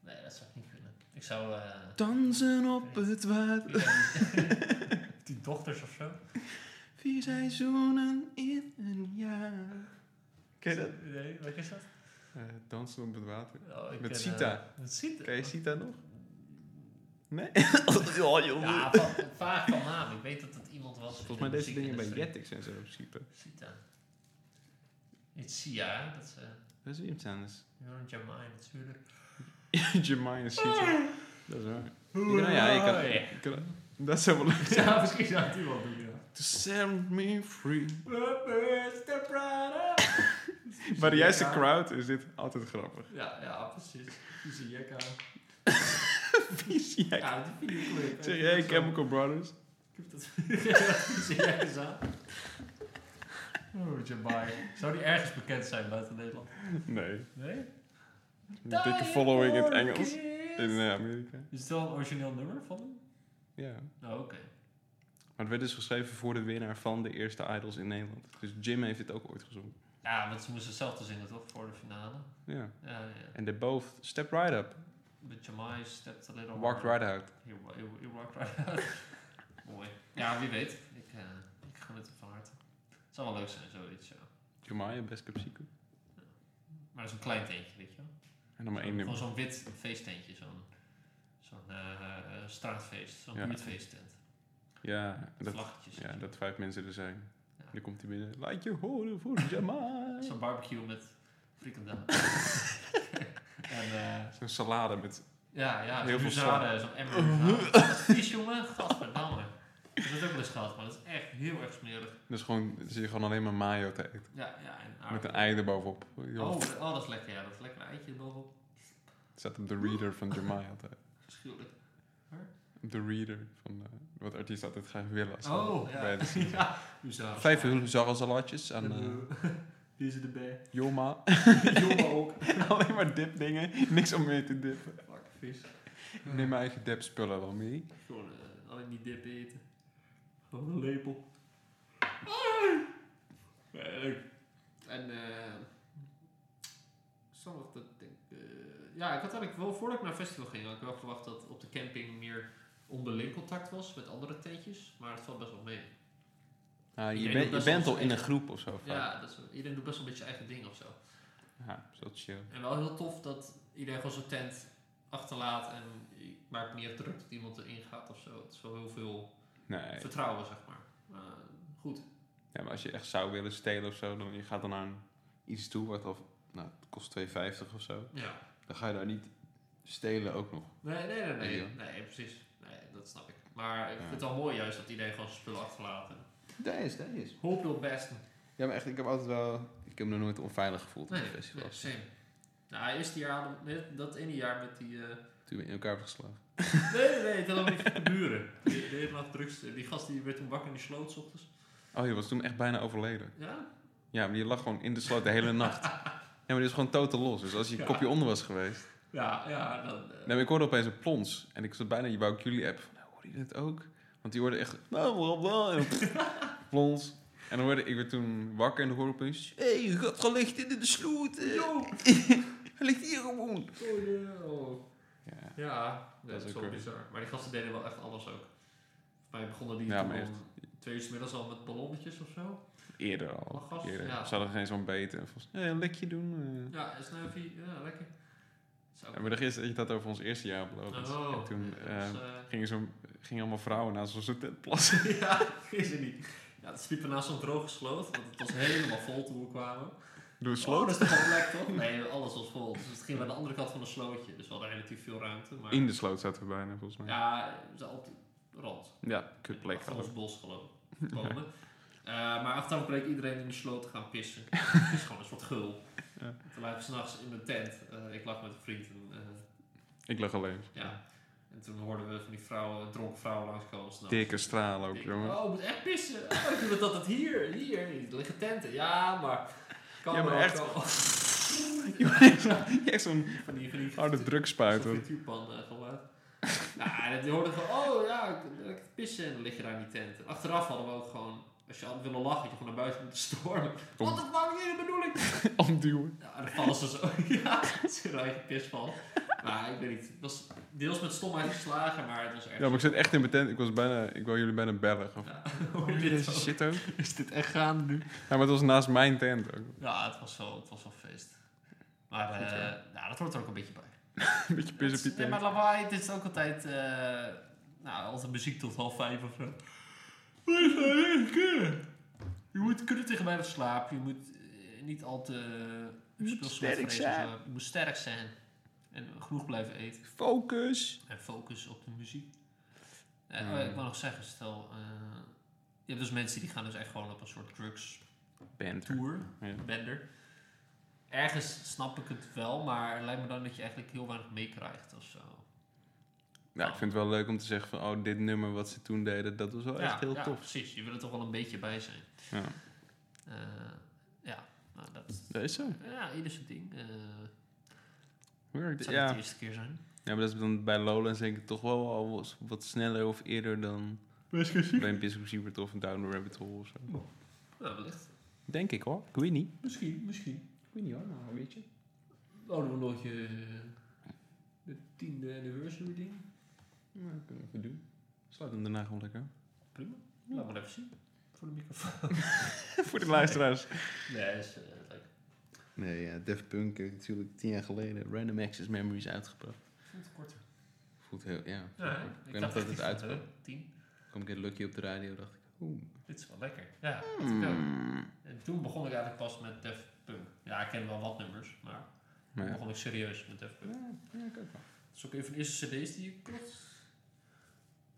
[SPEAKER 2] Nee, dat zou ik niet kunnen. Ik zou... eh,
[SPEAKER 1] Dansen op het water.
[SPEAKER 2] die dochters of zo.
[SPEAKER 1] Vier seizoenen in een jaar. Ken je dat?
[SPEAKER 2] Nee, wat is dat?
[SPEAKER 1] Eh, dansen op het water.
[SPEAKER 2] Oh, ik
[SPEAKER 1] Met
[SPEAKER 2] ken,
[SPEAKER 1] Sita.
[SPEAKER 2] eh, met Sita?
[SPEAKER 1] Ken je Sita nog? Nee?
[SPEAKER 2] Ja, van, vaag van naam. Ik weet dat het iemand was.
[SPEAKER 1] Volgens mij deze dingen bij
[SPEAKER 2] Jet.
[SPEAKER 1] Jetix en zo op Sita.
[SPEAKER 2] Sita. Niet Sia, hè? dat is eh,
[SPEAKER 1] Dat is weer iets anders.
[SPEAKER 2] Joran Jamai natuurlijk.
[SPEAKER 1] Jemima Sita. Dat is waar. Ja, ja, ik kan- ik kan, dat zou wel leuk zijn.
[SPEAKER 2] Ja, misschien zou ik die wel doen, ja.
[SPEAKER 1] To set me free.
[SPEAKER 2] Mr. Prada.
[SPEAKER 1] Maar de juiste
[SPEAKER 2] Ja.
[SPEAKER 1] crowd is dit altijd grappig.
[SPEAKER 2] Ja, ja, precies. Vieze jekka.
[SPEAKER 1] Vies jek.
[SPEAKER 2] Ja, die videoclip.
[SPEAKER 1] Zeg jij Chemical Brothers?
[SPEAKER 2] Ik heb dat vieze jekkers aan. Oh, Jamai. Zou die ergens bekend zijn buiten Nederland?
[SPEAKER 1] Nee.
[SPEAKER 2] Nee?
[SPEAKER 1] Een dikke following in het Engels. In eh, Amerika.
[SPEAKER 2] Is het wel een origineel nummer van hem?
[SPEAKER 1] Ja.
[SPEAKER 2] Nou, oké.
[SPEAKER 1] Maar het werd dus geschreven voor de winnaar van de eerste Idols in Nederland. Dus Jim heeft dit ook ooit gezongen.
[SPEAKER 2] Ja, want ze moesten hetzelfde zingen, toch? Voor de finale.
[SPEAKER 1] Ja.
[SPEAKER 2] Ja, ja.
[SPEAKER 1] En they both stepped right up.
[SPEAKER 2] But Jamai stepped a little
[SPEAKER 1] Walked
[SPEAKER 2] harder.
[SPEAKER 1] right out.
[SPEAKER 2] He, wa- he, wa- he walked right out. Mooi. Ja, wie weet. Ik, eh ik geniet er van harte. Het zou wel leuk zijn, zoiets, ja.
[SPEAKER 1] Jeremiah, Best Cup Secret.
[SPEAKER 2] Maar dat is een klein teentje, weet je wel.
[SPEAKER 1] En dan maar één
[SPEAKER 2] Gewoon
[SPEAKER 1] nummer.
[SPEAKER 2] zo'n wit feestteentje. Zo'n zo'n eh, eh, straatfeest. Zo'n
[SPEAKER 1] Ja.
[SPEAKER 2] buurtfeesttent.
[SPEAKER 1] Ja dat,
[SPEAKER 2] Vlaggetjes.
[SPEAKER 1] ja, dat vijf mensen er zijn.
[SPEAKER 2] Ja.
[SPEAKER 1] Dan komt hij binnen. Laat je horen voor Jamai.
[SPEAKER 2] Zo'n barbecue met frikandellen. en... eh,
[SPEAKER 1] Zo'n salade met...
[SPEAKER 2] Ja, ja,
[SPEAKER 1] Heel
[SPEAKER 2] heel
[SPEAKER 1] veel
[SPEAKER 2] veel zaden, zo'n emmer. Nou, dat is Vies jongen, gadverdamme. Ik heb het ook wel eens gehad, maar dat is echt heel erg smerig.
[SPEAKER 1] Dus gewoon, dan zie je gewoon alleen maar mayo te eten.
[SPEAKER 2] Ja, ja, en aard.
[SPEAKER 1] Met een ei erbovenop.
[SPEAKER 2] Ah, Oh,
[SPEAKER 1] bovenop.
[SPEAKER 2] oh, dat is lekker, ja, dat is lekker eitje erbovenop.
[SPEAKER 1] Zet op de reader van Jeremiah altijd.
[SPEAKER 2] Verschuwelijk.
[SPEAKER 1] De reader van eh, wat artiest altijd graag willen. als ze
[SPEAKER 2] Oh, ja.
[SPEAKER 1] bij de season.
[SPEAKER 2] ja. U zou-
[SPEAKER 1] Vijf huzarensalatjes en eh
[SPEAKER 2] Die is er bij.
[SPEAKER 1] Joma.
[SPEAKER 2] Jongen ook.
[SPEAKER 1] Alleen maar dipdingen. Niks om mee te dippen.
[SPEAKER 2] Fuck, vis.
[SPEAKER 1] Ik neem mijn eigen dipspullen wel mee.
[SPEAKER 2] Gewoon eh, alleen die dip eten. Gewoon een lepel. Ah. Ja, leuk. En eh. sommige dat denk ik. eh, ja, ik had eigenlijk wel voordat ik naar het festival ging, had ik wel verwacht dat op de camping meer onderling contact was met andere tentjes, maar het valt best wel mee.
[SPEAKER 1] Ah, je,
[SPEAKER 2] Iedereen
[SPEAKER 1] bent-
[SPEAKER 2] doet
[SPEAKER 1] je
[SPEAKER 2] best
[SPEAKER 1] bent
[SPEAKER 2] wel
[SPEAKER 1] al in een
[SPEAKER 2] zijn
[SPEAKER 1] groep of zo. vaak.
[SPEAKER 2] Ja, dat is, iedereen doet best wel een beetje eigen ding of zo.
[SPEAKER 1] Ja, zo chill.
[SPEAKER 2] En wel heel tof dat iedereen gewoon zijn tent achterlaat en ik maak me niet echt druk dat iemand erin gaat of zo. Het is wel heel veel
[SPEAKER 1] Nee.
[SPEAKER 2] vertrouwen, zeg maar. Eh, goed.
[SPEAKER 1] Ja, maar als je echt zou willen stelen of zo, dan je gaat dan naar een- iets toe wat al nou, het kost 2,50 of zo.
[SPEAKER 2] Ja.
[SPEAKER 1] Dan ga je daar niet stelen ook nog.
[SPEAKER 2] Nee, nee, nee, nee.
[SPEAKER 1] Ideaal.
[SPEAKER 2] Nee, precies. Nee, dat snap ik. Maar ik
[SPEAKER 1] Ja.
[SPEAKER 2] vind het wel mooi juist dat iedereen gewoon zijn spullen achterlaat. en
[SPEAKER 1] Dat is, dat is.
[SPEAKER 2] Hoop wil best.
[SPEAKER 1] Ja, maar echt, ik heb altijd wel... Ik heb me nog nooit onveilig gevoeld op
[SPEAKER 2] Nee,
[SPEAKER 1] de
[SPEAKER 2] nee,
[SPEAKER 1] festivals.
[SPEAKER 2] same. Nou, eerst die jaar, dat ene jaar met die... eh,
[SPEAKER 1] Toen we in elkaar hebben geslagen.
[SPEAKER 2] Nee, nee, nee, dat had niks met de buren. Die deden laat drugs. Die gast die werd toen wakker in die sloot 's ochtends.
[SPEAKER 1] Oh, je was toen echt bijna overleden.
[SPEAKER 2] Ja?
[SPEAKER 1] Ja, maar je lag gewoon in de sloot de hele nacht. Ja, maar die is gewoon totaal los. Dus als je een
[SPEAKER 2] Ja.
[SPEAKER 1] kopje onder was geweest...
[SPEAKER 2] Ja, ja, dan... eh,
[SPEAKER 1] Nee, maar ik hoorde opeens een plons. En ik zat bijna in je wou ik jullie app. Van, nou, hoorde je dat ook? Want die hoorde echt... bla, bla, bla, en plons. En dan hoorde ik weer toen wakker en dan hoorde ik opeens... Hé, hey, gat ligt in de sloot. eh.
[SPEAKER 2] Yo!
[SPEAKER 1] Hij ligt hier gewoon.
[SPEAKER 2] Oh, ja, oh.
[SPEAKER 1] Ja.
[SPEAKER 2] Ja, nee,
[SPEAKER 1] Dat
[SPEAKER 2] dat
[SPEAKER 1] is
[SPEAKER 2] is
[SPEAKER 1] ook
[SPEAKER 2] wel
[SPEAKER 1] crazy.
[SPEAKER 2] bizar. Maar die gasten deden wel echt alles ook. Bij mij begonnen die
[SPEAKER 1] Ja,
[SPEAKER 2] toen
[SPEAKER 1] maar
[SPEAKER 2] om twee uur 's middags al met ballonnetjes of zo.
[SPEAKER 1] Eerder al.
[SPEAKER 2] Ach, gast,
[SPEAKER 1] Eerder.
[SPEAKER 2] ja.
[SPEAKER 1] Ze hadden geen zo'n beten. En volgens hey, een likje doen. eh.
[SPEAKER 2] Ja, en snuifie, ja, lekker. Zou
[SPEAKER 1] Ja, maar dan gisteren had je dat over ons eerste jaar beloofd.
[SPEAKER 2] Oh,
[SPEAKER 1] en toen
[SPEAKER 2] dat
[SPEAKER 1] eh,
[SPEAKER 2] was, eh,
[SPEAKER 1] gingen, zo'n- gingen allemaal vrouwen naast zo'n tent plassen.
[SPEAKER 2] ja, is er niet. Ja, het sliepen naast zo'n droge sloot, want het was helemaal vol toen we kwamen.
[SPEAKER 1] Door een
[SPEAKER 2] Oh,
[SPEAKER 1] sloot.
[SPEAKER 2] dat is toch wel plek, toch? Nee, alles was vol. Dus het ging aan de andere kant van een slootje. Dus we hadden relatief veel ruimte. Maar
[SPEAKER 1] In de sloot zaten we bijna, volgens mij. Ja,
[SPEAKER 2] ja, we zaten op de rand.
[SPEAKER 1] kut plek.
[SPEAKER 2] Achter
[SPEAKER 1] hadden
[SPEAKER 2] ons bos geloof ik. Wonen. Eh, maar achteraf bleek iedereen in de sloot te gaan pissen. Het is gewoon een soort gul.
[SPEAKER 1] Ja.
[SPEAKER 2] Toen lagen we s'nachts in de tent. Eh, ik lag met een vriend. En, eh,
[SPEAKER 1] we. Ik lag alleen.
[SPEAKER 2] ja. en toen hoorden we van die vrouwen, dronken vrouwen langskomen. s'nachts.
[SPEAKER 1] Dikke straal ook,
[SPEAKER 2] Ik-
[SPEAKER 1] jongen.
[SPEAKER 2] Oh, ik moet echt pissen. Oh, ik doe dat altijd hier. Hier, er liggen tenten. Ja, maar... Kan
[SPEAKER 1] Ja, maar
[SPEAKER 2] wel,
[SPEAKER 1] echt.
[SPEAKER 2] kan wel.
[SPEAKER 1] Je hebt zo'n
[SPEAKER 2] Van die, van die
[SPEAKER 1] harde drugspuit, hoor.
[SPEAKER 2] van geluid. nou, en die hoorden gewoon, oh ja, ik- ik het pissen en dan lig je daar in die tent. En achteraf hadden we ook gewoon, als je had willen lachen, had je gewoon naar buiten moeten stormen.
[SPEAKER 1] Om-
[SPEAKER 2] Wat de fuck is de bedoeling?
[SPEAKER 1] Omduwen.
[SPEAKER 2] Ja, en dan vallen ze zo, ja, ze eigen pisval. Maar ik weet niet, het was deels met stomheid geslagen, maar het was echt...
[SPEAKER 1] Ja, maar ik zit echt in mijn tent. Ik was bijna... Ik wou jullie bijna bellen. Gewoon,
[SPEAKER 2] Ja, hoor je dit
[SPEAKER 1] Deze
[SPEAKER 2] ook?
[SPEAKER 1] shit ook.
[SPEAKER 2] Is dit echt gaande nu?
[SPEAKER 1] Ja, maar het was naast mijn tent ook.
[SPEAKER 2] Ja, het was wel, het was wel feest. Maar
[SPEAKER 1] Goed,
[SPEAKER 2] eh,
[SPEAKER 1] ja.
[SPEAKER 2] nou, dat hoort er ook een beetje bij.
[SPEAKER 1] Een beetje pis op je
[SPEAKER 2] Nee,
[SPEAKER 1] tent.
[SPEAKER 2] maar lawaai, het is ook altijd, eh, nou, altijd muziek tot half vijf of zo. Maar je zou het niet kunnen. Je moet kunnen tegen mij slaap. Je moet eh, niet al te
[SPEAKER 1] Je moet
[SPEAKER 2] speelsmetvrees
[SPEAKER 1] sterk
[SPEAKER 2] of
[SPEAKER 1] zijn.
[SPEAKER 2] zo. Je moet sterk zijn. En genoeg blijven eten.
[SPEAKER 1] Focus.
[SPEAKER 2] En focus op de muziek. Eh,
[SPEAKER 1] Hmm.
[SPEAKER 2] oh ja, Ik wil nog zeggen, stel... eh, je hebt dus mensen die gaan dus echt gewoon op een soort drugs
[SPEAKER 1] Bent.
[SPEAKER 2] tour,
[SPEAKER 1] Ja.
[SPEAKER 2] bender. Ergens snap ik het wel, maar het lijkt me dan dat je eigenlijk heel weinig meekrijgt of zo.
[SPEAKER 1] Nou, ik vind het wel leuk om te zeggen van, oh, dit nummer wat ze toen deden, dat was wel echt heel
[SPEAKER 2] ja,
[SPEAKER 1] tof.
[SPEAKER 2] precies. Je wil er toch wel een beetje bij zijn.
[SPEAKER 1] Ja.
[SPEAKER 2] Eh, ja, nou, dat,
[SPEAKER 1] Dat is zo.
[SPEAKER 2] ja, ieder zijn ding. Eh, het
[SPEAKER 1] Werkt,
[SPEAKER 2] zou
[SPEAKER 1] ja.
[SPEAKER 2] niet
[SPEAKER 1] ja,
[SPEAKER 2] de eerste keer zijn.
[SPEAKER 1] maar dat is dan bij Lowlands denk ik toch wel al wat- wat sneller of eerder dan Brain Piss Super of een Down the Rabbit Hole of zo.
[SPEAKER 2] Nou, wellicht.
[SPEAKER 1] Denk ik hoor. Ik weet niet.
[SPEAKER 2] Misschien, misschien.
[SPEAKER 1] Ik weet niet hoor, maar weet je.
[SPEAKER 2] Houden we nog je eh, de tiende anniversary ding?
[SPEAKER 1] Nou, dat kunnen we even doen. Sluit hem daarna gewoon lekker.
[SPEAKER 2] Prima. Laat maar even zien. Voor de microfoon.
[SPEAKER 1] Voor de luisteraars.
[SPEAKER 2] nee, dat is eh, leuk.
[SPEAKER 1] Nee, ja, Def Punk heeft natuurlijk tien jaar geleden Random Access Memories uitgebracht.
[SPEAKER 2] Voelt korter.
[SPEAKER 1] Voelt heel, ja.
[SPEAKER 2] Ja,
[SPEAKER 1] ik weet nog dat het uitkwam.
[SPEAKER 2] eh, Tien.
[SPEAKER 1] Kom ik in Lucky op de radio, dacht ik. Oeh.
[SPEAKER 2] Dit is wel lekker. Ja, dat
[SPEAKER 1] Hmm.
[SPEAKER 2] ik ook. En toen begon ik eigenlijk pas met Def Punk. Ja, ik ken wel wat nummers, maar toen
[SPEAKER 1] Maar ja.
[SPEAKER 2] begon ik serieus met Def Punk.
[SPEAKER 1] Ja, ik ook wel.
[SPEAKER 2] Dat is ook een van de eerste cd's die je klopt.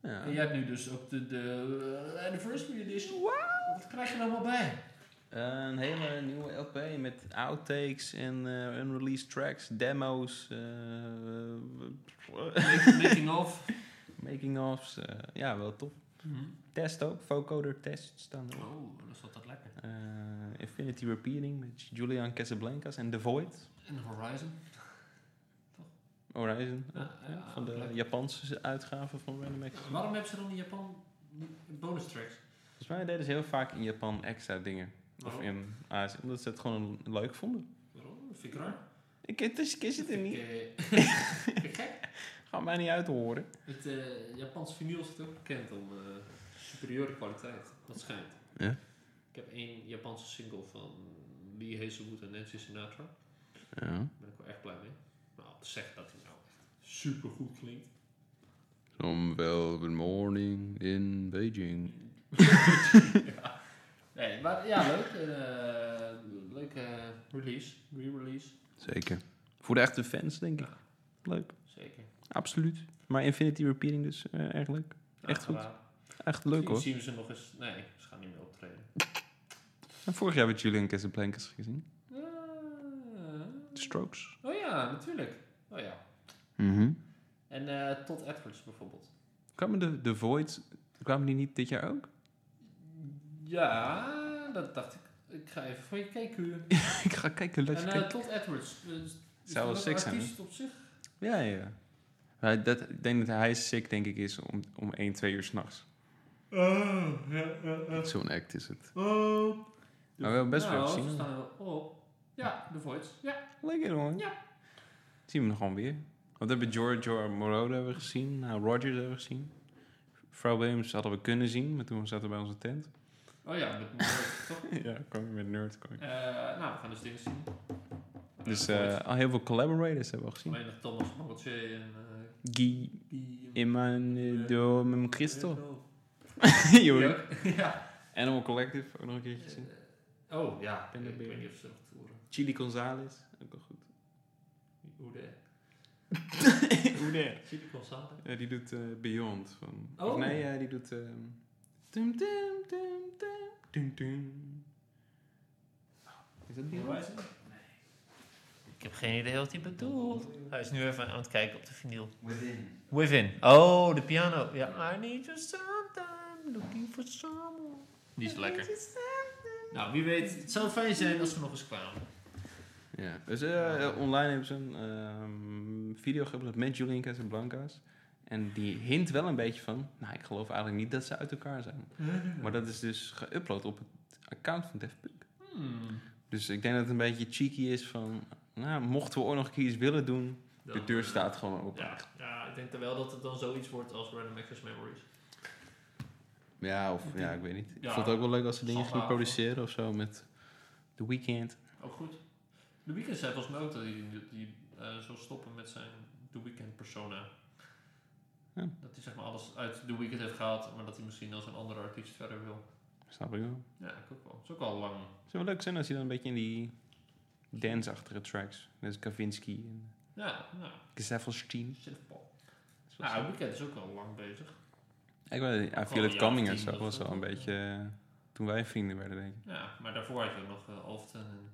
[SPEAKER 1] Ja.
[SPEAKER 2] En jij hebt nu dus ook de, de eh, Anniversary Edition. Wow! Wat krijg je er allemaal bij?
[SPEAKER 1] Eh, Een hele nieuwe LP met outtakes en eh, unreleased tracks, demo's, eh,
[SPEAKER 2] Making, making of. Hmm.
[SPEAKER 1] making-ofs. eh, ja, wel tof. Test ook, vocoder tests staan erop.
[SPEAKER 2] Oh, dat is altijd lekker.
[SPEAKER 1] Eh, Infinity Repeating met Julian Casablancas en The Void.
[SPEAKER 2] En Horizon.
[SPEAKER 1] Horizon,
[SPEAKER 2] Ja,
[SPEAKER 1] ook, ja,
[SPEAKER 2] ja,
[SPEAKER 1] van de
[SPEAKER 2] leuk.
[SPEAKER 1] Japanse uitgave van Random Access.
[SPEAKER 2] Waarom hebben ze dan in Japan bonus tracks?
[SPEAKER 1] Volgens mij deden ze heel vaak in Japan extra dingen. Of
[SPEAKER 2] Waarom?
[SPEAKER 1] in Azië, omdat ze het gewoon leuk vonden.
[SPEAKER 2] Waarom? Dat Vind ik raar.
[SPEAKER 1] Ik, het is, ik is het er niet.
[SPEAKER 2] Vind ik gek.
[SPEAKER 1] Gaat mij niet uit te horen.
[SPEAKER 2] Het eh Japanse vinyl is het ook bekend om eh, superieure kwaliteit. Dat schijnt.
[SPEAKER 1] Ja?
[SPEAKER 2] Ik heb één Japanse single van Lee Hazelwood en Nancy Sinatra.
[SPEAKER 1] Ja,
[SPEAKER 2] Daar ben ik wel echt blij mee. Nou, zeg dat hij nou echt super goed klinkt.
[SPEAKER 1] Some velvet morning in Beijing.
[SPEAKER 2] ja. Nee, maar ja, leuk. eh leuke release, re-release.
[SPEAKER 1] Zeker. Voor de echte fans, denk ik.
[SPEAKER 2] Ja.
[SPEAKER 1] Leuk.
[SPEAKER 2] Zeker.
[SPEAKER 1] Absoluut. Maar Infinity Repeating dus eh, erg leuk. Echt goed.
[SPEAKER 2] Aangeraden.
[SPEAKER 1] Echt leuk
[SPEAKER 2] Misschien
[SPEAKER 1] hoor.
[SPEAKER 2] zien we ze nog eens. Nee, ze gaan niet meer optreden.
[SPEAKER 3] En vorig jaar werd Julian Casablancas gezien.
[SPEAKER 2] Ah.
[SPEAKER 3] The Strokes.
[SPEAKER 2] Oh ja, natuurlijk. Oh ja.
[SPEAKER 1] Mhm.
[SPEAKER 2] En eh, Todd Edwards bijvoorbeeld.
[SPEAKER 3] Kwamen de, de Void, kwamen die niet dit jaar ook?
[SPEAKER 2] Ja, dat dacht ik. Ik ga even voor je kijken.
[SPEAKER 3] ik ga kijken,
[SPEAKER 2] En
[SPEAKER 3] let's
[SPEAKER 2] eh,
[SPEAKER 3] kijken.
[SPEAKER 2] Todd Edwards. eh, is
[SPEAKER 1] Zou wel
[SPEAKER 2] dat
[SPEAKER 1] sick
[SPEAKER 2] een
[SPEAKER 1] zijn,
[SPEAKER 2] artiest op zich.
[SPEAKER 3] Ja, ja. Maar dat, ik denk dat hij sick, denk ik, is om, om 1, 2 uur s'nachts.
[SPEAKER 2] Oh, ja, ja, ja.
[SPEAKER 1] Zo'n act is het.
[SPEAKER 2] Oh.
[SPEAKER 3] Maar we hebben best
[SPEAKER 2] nou,
[SPEAKER 3] wel
[SPEAKER 2] ze
[SPEAKER 3] gezien.
[SPEAKER 2] staan er wel op. Ja, de Voids. Ja.
[SPEAKER 3] Lekker hoor.
[SPEAKER 2] Ja.
[SPEAKER 3] Zien we hem gewoon weer. Want we hebben Giorgio Moroder hebben we gezien. Nou, Rogers hebben we gezien. Vrouw Williams hadden we kunnen zien, maar toen zaten we bij onze tent.
[SPEAKER 2] Oh ja, met Morris, toch?
[SPEAKER 3] ja, kwam je met nerd. Kwam je.
[SPEAKER 2] Eh, nou, we gaan dus dingen zien.
[SPEAKER 3] Dus
[SPEAKER 2] Eh,
[SPEAKER 3] eh,
[SPEAKER 2] Voids.
[SPEAKER 3] al heel veel collaborators hebben we al gezien.
[SPEAKER 2] Alleen nog Thomas Morrissey en... eh,
[SPEAKER 3] Guy,
[SPEAKER 2] Guy en-
[SPEAKER 3] Emmanuel, Mem Christel.
[SPEAKER 2] Ja.
[SPEAKER 3] Joh.
[SPEAKER 2] Ja.
[SPEAKER 3] Animal Collective, ook nog een keertje gezien.
[SPEAKER 2] Eh, Oh ja,
[SPEAKER 3] Ben
[SPEAKER 2] ik
[SPEAKER 3] er
[SPEAKER 2] weet
[SPEAKER 3] weer.
[SPEAKER 2] niet of ze nog toeren.
[SPEAKER 3] Chili Gonzalez, ook al goed.
[SPEAKER 2] Hoe de...
[SPEAKER 3] Hoe de?
[SPEAKER 2] Chili Gonzalez.
[SPEAKER 3] Ja, die doet eh, Beyond. Van,
[SPEAKER 2] Oh.
[SPEAKER 3] Of nee, ja, die doet... ehm, dum, dum, dum, dum, dum, dum. Is dat Beyond?
[SPEAKER 2] Horizon? Ik heb geen idee wat hij bedoelt. Hij is nu even aan het kijken op de vinyl.
[SPEAKER 1] Within.
[SPEAKER 2] Within. Oh, de piano. Ja, I need you sometime. Looking for someone. Die is lekker. Nou, wie weet. Het zou fijn zijn als we nog eens kwamen.
[SPEAKER 1] Ja.
[SPEAKER 3] Dus eh, eh, online hebben ze een ehm, video geüpload met Julian Casablancas. En die hint wel een beetje van... Nou, ik geloof eigenlijk niet dat ze uit elkaar zijn. Maar dat is dus geüpload op het account van Def Punk.
[SPEAKER 2] Hmm.
[SPEAKER 3] Dus ik denk dat het een beetje cheeky is van... Nou, mochten we ooit nog een keer iets willen doen... De
[SPEAKER 2] Dan,
[SPEAKER 3] deur
[SPEAKER 2] eh,
[SPEAKER 3] staat gewoon open.
[SPEAKER 2] Ja, ja, ik denk dan wel dat het dan zoiets wordt als Random Access Memories.
[SPEAKER 1] Ja, of ja, ik weet niet. Ik
[SPEAKER 2] Ja.
[SPEAKER 1] vond het ook wel leuk als ze dingen gingen
[SPEAKER 2] Schandalig.
[SPEAKER 1] produceren of zo met The Weeknd.
[SPEAKER 2] Ook Oh, goed. The Weeknd zei volgens mij ook dat hij, dat hij eh, zou stoppen met zijn The Weeknd persona.
[SPEAKER 3] Ja.
[SPEAKER 2] Dat hij zeg maar alles uit The Weeknd heeft gehaald, maar dat hij misschien als een andere artiest verder wil.
[SPEAKER 3] Snap ik wel.
[SPEAKER 2] Ja, ik ook wel. Het is ook al lang.
[SPEAKER 3] Het zou wel leuk zijn als hij dan een beetje in die dance-achtige tracks. Net als Kavinsky en
[SPEAKER 2] Ja, nou,
[SPEAKER 3] Gezelschapsteam.
[SPEAKER 2] zinvol. Nou, The Weeknd is ook al lang bezig.
[SPEAKER 3] Ik weet het, niet, I
[SPEAKER 2] Al
[SPEAKER 3] Feel
[SPEAKER 2] een
[SPEAKER 3] It
[SPEAKER 2] jaar
[SPEAKER 3] Coming
[SPEAKER 2] of
[SPEAKER 3] en
[SPEAKER 2] tien
[SPEAKER 3] zo
[SPEAKER 2] of
[SPEAKER 3] was
[SPEAKER 2] zo,
[SPEAKER 3] al een
[SPEAKER 2] toch?
[SPEAKER 3] beetje eh, toen wij vrienden werden, denk ik.
[SPEAKER 2] Ja, maar daarvoor had je ook nog eh, Alfton en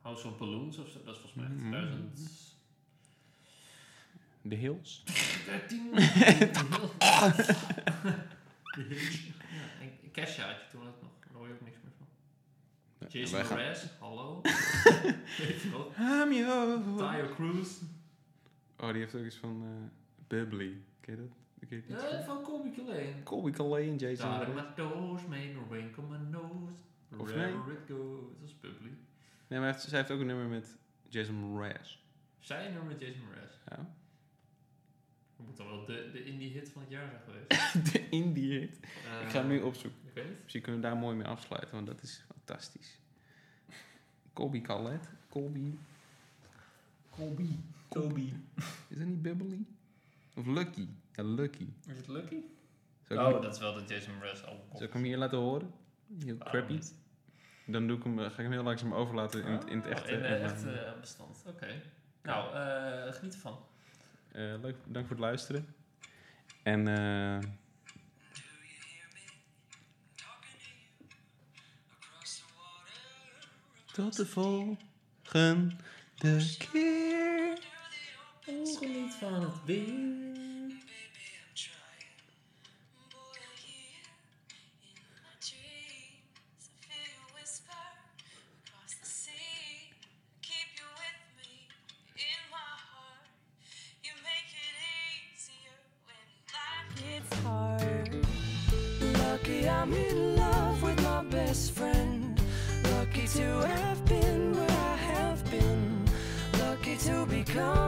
[SPEAKER 2] House of Balloons of zo. Dat is volgens mij
[SPEAKER 3] Mhm.
[SPEAKER 2] 2000.
[SPEAKER 3] The Hills.
[SPEAKER 2] 13. ja, en Kesha had je toen ook nog. Daar hoor je ook niks meer van.
[SPEAKER 1] Ja,
[SPEAKER 2] Jason
[SPEAKER 1] wij gaan-
[SPEAKER 2] Mraz, hallo. Weet je wel.
[SPEAKER 3] I'm your...
[SPEAKER 2] Tyre Cruz.
[SPEAKER 3] Oh, die heeft ook iets van eh Bubbly. Ken je dat? Ken je dat?
[SPEAKER 2] Ja, Eh, van Colby Killeen.
[SPEAKER 3] Colby Calais en Jason.
[SPEAKER 2] Darling
[SPEAKER 3] Mraz.
[SPEAKER 2] my toes, make a ring on my nose.
[SPEAKER 3] Of
[SPEAKER 2] Wherever it goes. Dat is Bubbly.
[SPEAKER 3] Nee, maar hij heeft, zij heeft ook een nummer met Jason Mraz.
[SPEAKER 2] Zij en met Jason Mraz.
[SPEAKER 3] Ja.
[SPEAKER 2] Dat moet dan wel de, de indie hit van het jaar zijn geweest.
[SPEAKER 3] De indie hit. Ik ga hem nu
[SPEAKER 2] Eh,
[SPEAKER 3] opzoeken.
[SPEAKER 2] Ik weet niet.
[SPEAKER 3] Misschien kunnen we daar mooi mee afsluiten, want dat is fantastisch. Colby Calais. Colby...
[SPEAKER 2] Colby.
[SPEAKER 3] Colby. Is dat niet Bubbly? Of Lucky? Ja, Lucky.
[SPEAKER 2] Is het Lucky?
[SPEAKER 3] Zou ik,
[SPEAKER 2] oh,
[SPEAKER 3] hem,
[SPEAKER 2] dat is wel de Jason Mraz album.
[SPEAKER 3] zou ik hem hier laten horen? Heel
[SPEAKER 2] Waarom
[SPEAKER 3] crappy.
[SPEAKER 2] niet?
[SPEAKER 3] Dan doe ik hem, eh, ga ik hem heel langzaam overlaten in, het- in het
[SPEAKER 2] Oh,
[SPEAKER 3] echte.
[SPEAKER 2] In
[SPEAKER 3] en
[SPEAKER 2] het
[SPEAKER 3] dan-
[SPEAKER 2] echte eh, bestand. Oké. Nou, eh, geniet ervan.
[SPEAKER 3] Eh, leuk, bedankt voor het luisteren. En eh, tot de volgende keer.
[SPEAKER 2] Geniet van het weer.
[SPEAKER 4] It's hard. Lucky I'm in love with my best friend. Lucky to have been where I have been. Lucky to become